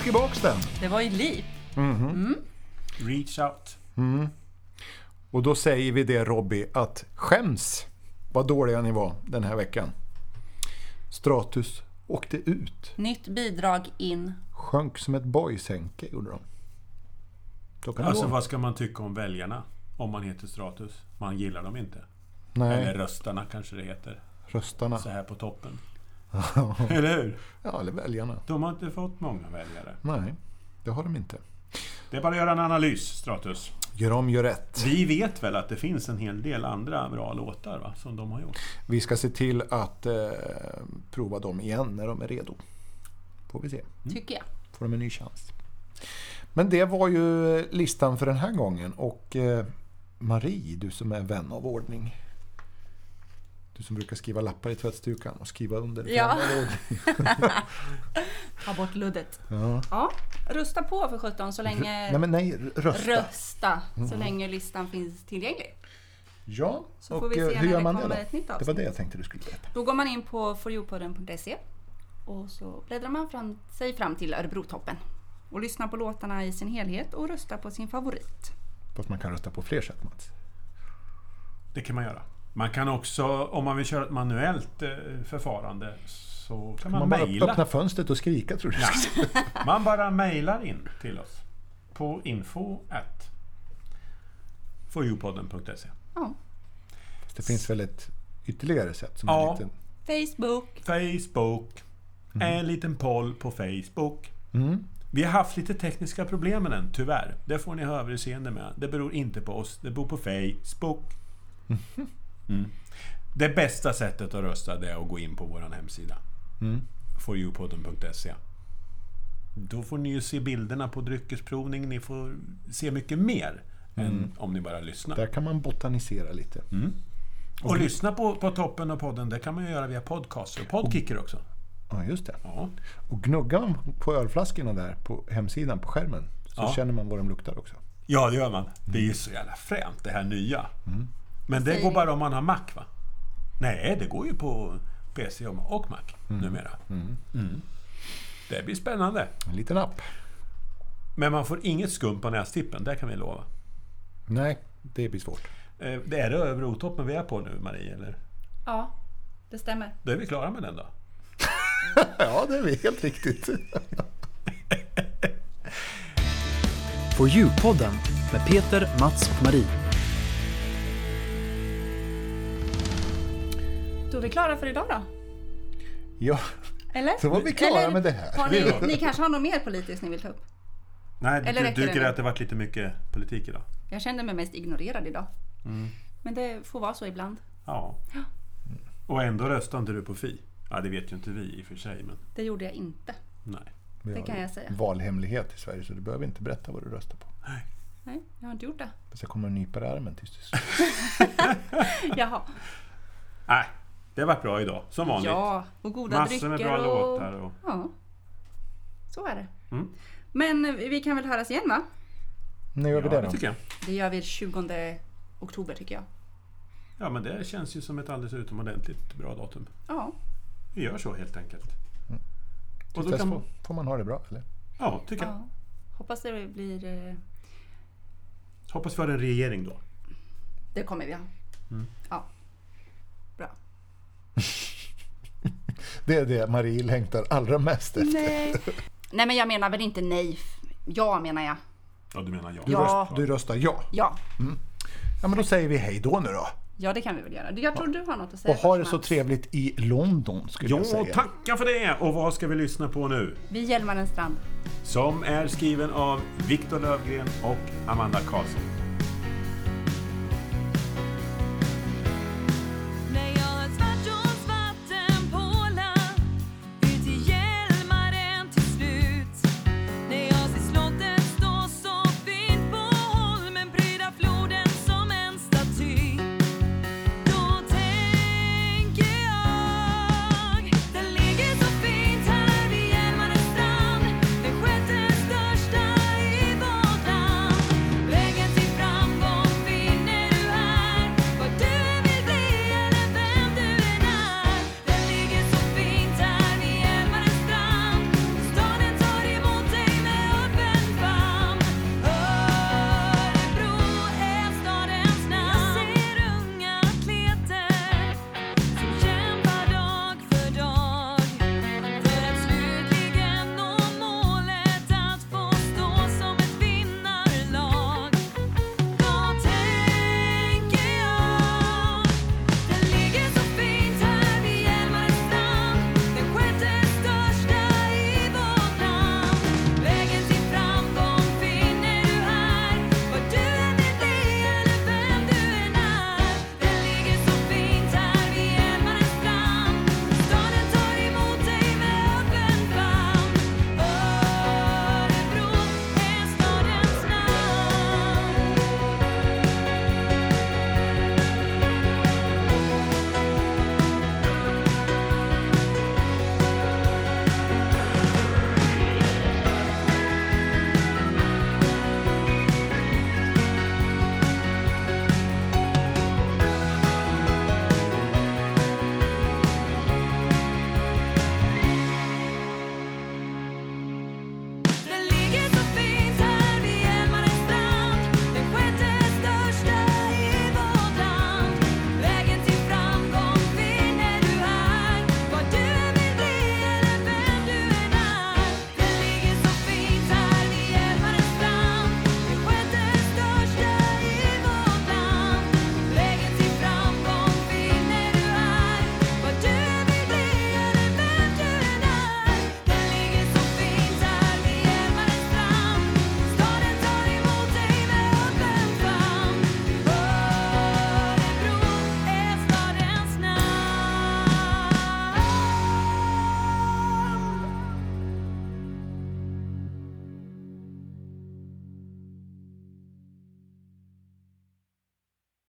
tillbaks den. Det var ju liv. Reach out. Och då säger vi det Robby, att skäms vad dåliga ni var den här veckan. Stratus åkte ut. Nytt bidrag in. Sjönk som ett bojsänke gjorde de. Så kan det Alltså gå. vad ska man tycka om väljarna? Om man heter Stratus? Man gillar dem inte. Eller Nej, röstarna kanske det heter. röstarna. Så här på toppen. Eller hur? Ja, eller väljarna. De har inte fått många väljare. Nej, det har de inte. Det är bara att göra en analys, Stratus. Gör om, gör rätt. Vi vet väl att det finns en hel del andra bra låtar va? som de har gjort. Vi ska se till att eh, prova dem igen när de är redo. Får vi se. Tycker jag. Får de en ny chans. Men det var ju listan för den här gången. Och eh, Marie, du som är vän av ordning. Du som brukar skriva lappar i tvättstugan och skriva under. Ja. vän av ordning. Ta bort luddet. ja. Ja, rösta på för 17 så länge... Nej, men Mm. nej, r- rösta. Rösta så länge listan finns tillgänglig. Ja, Så och får vi se eh, när hur gör det man kommer det ett då? nytt Det var avsnitt. det jag tänkte du skulle berätta. Då går man in på foryoupodden.se och så bläddrar man fram, sig fram till Örebrotoppen och lyssnar på låtarna i sin helhet och röstar på sin favorit. Fast man kan rösta på fler sätt Mats. Det kan man göra. Man kan också, om man vill köra ett manuellt eh, förfarande, så kan man, Man bara mejla. öppna fönstret och skrika tror du. Ja. Man bara mejlar in till oss på info at foryoupodden.se. Ja. Det finns väl ett ytterligare sätt som Ja. är lite... Facebook. Facebook. En liten poll på Facebook. Vi har haft lite tekniska problem med den, tyvärr. Det får ni ha överseende med. Det beror inte på oss, det beror på Facebook. Mm. Det bästa sättet att rösta det är att gå in på vår hemsida. foryoupodden.se Då får ni ju se bilderna på dryckesprovning. Ni får se mycket mer än om ni bara lyssnar. Där kan man botanisera lite. Och lyssna på, på toppen och podden, det kan man ju göra via podcaster och podkicker också. Ja, just det. Ja. Och gnuggar man på ölflaskorna där på hemsidan på skärmen så Ja. känner man vad de luktar också. Ja, det gör man. Det är ju så jävla fränt det här nya. Men det Säger går vi. bara om man har Mac, va? Nej, det går ju på PC och och Mac numera. Mm. Det blir spännande. En liten app. Men man får inget skum på nästippen, det kan vi lova. Nej, det blir svårt. Eh, Det är det Örebrotoppen vi är på nu, Marie, eller? Ja, det stämmer. Då är vi klara med den då. Ja, det är helt riktigt. På Djurpodden med Peter, Mats och Marie. Då är vi klara för idag då. Ja, Eller? så var vi klara Eller med det här. Har ni, ni kanske har något mer politiskt ni vill ta upp? Nej, Eller du räcker det tycker nu? att det varit lite mycket politik idag? Jag kände mig mest ignorerad idag. Mm. Men det får vara så ibland. Ja. Och ändå röstar inte du på Fi? Ja, det vet ju inte vi i och för sig, men Det gjorde jag inte. nej. Vi har kan ju jag säga. valhemlighet i Sverige så du behöver inte berätta vad du röstar på. Nej, jag har inte gjort det. Fast jag kommer att nypa dig i armen tills du Jaha. Nej, det har varit bra idag, som vanligt. Ja, och goda Massor drycker med bra och... låtar och... Ja, så är det. Mm. Men eh, vi kan väl höras igen va? Nu gör vi Ja, det det då. tycker jag. Det gör vi 20 oktober tycker jag. Ja, men det känns ju som ett alldeles utomordentligt bra datum. Ja, Vi gör så helt enkelt. Mm. Och Tills då dess kan man, får- får man ha det bra, eller? ja, tycker jag. ja. hoppas det blir... eh, Hoppas vi har en regering då. Det kommer vi ha. Mm. Ja, bra. Det är det Marie längtar allra mest efter. Nej. nej men jag menar väl inte nej. Ja menar jag. Ja, du menar jag? Ja. Röst, du röstar ja. Ja. Ja, men då säger vi hej då nu då. ja, det kan vi väl göra. Jag tror du har något att säga. Och ha det Mats. så trevligt i London, skulle jag Ja, säga. tacka för det! Och vad ska vi lyssna på nu? Vi Hjälmaren Strand. Som är skriven av Viktor Lövgren och Amanda Karlsson.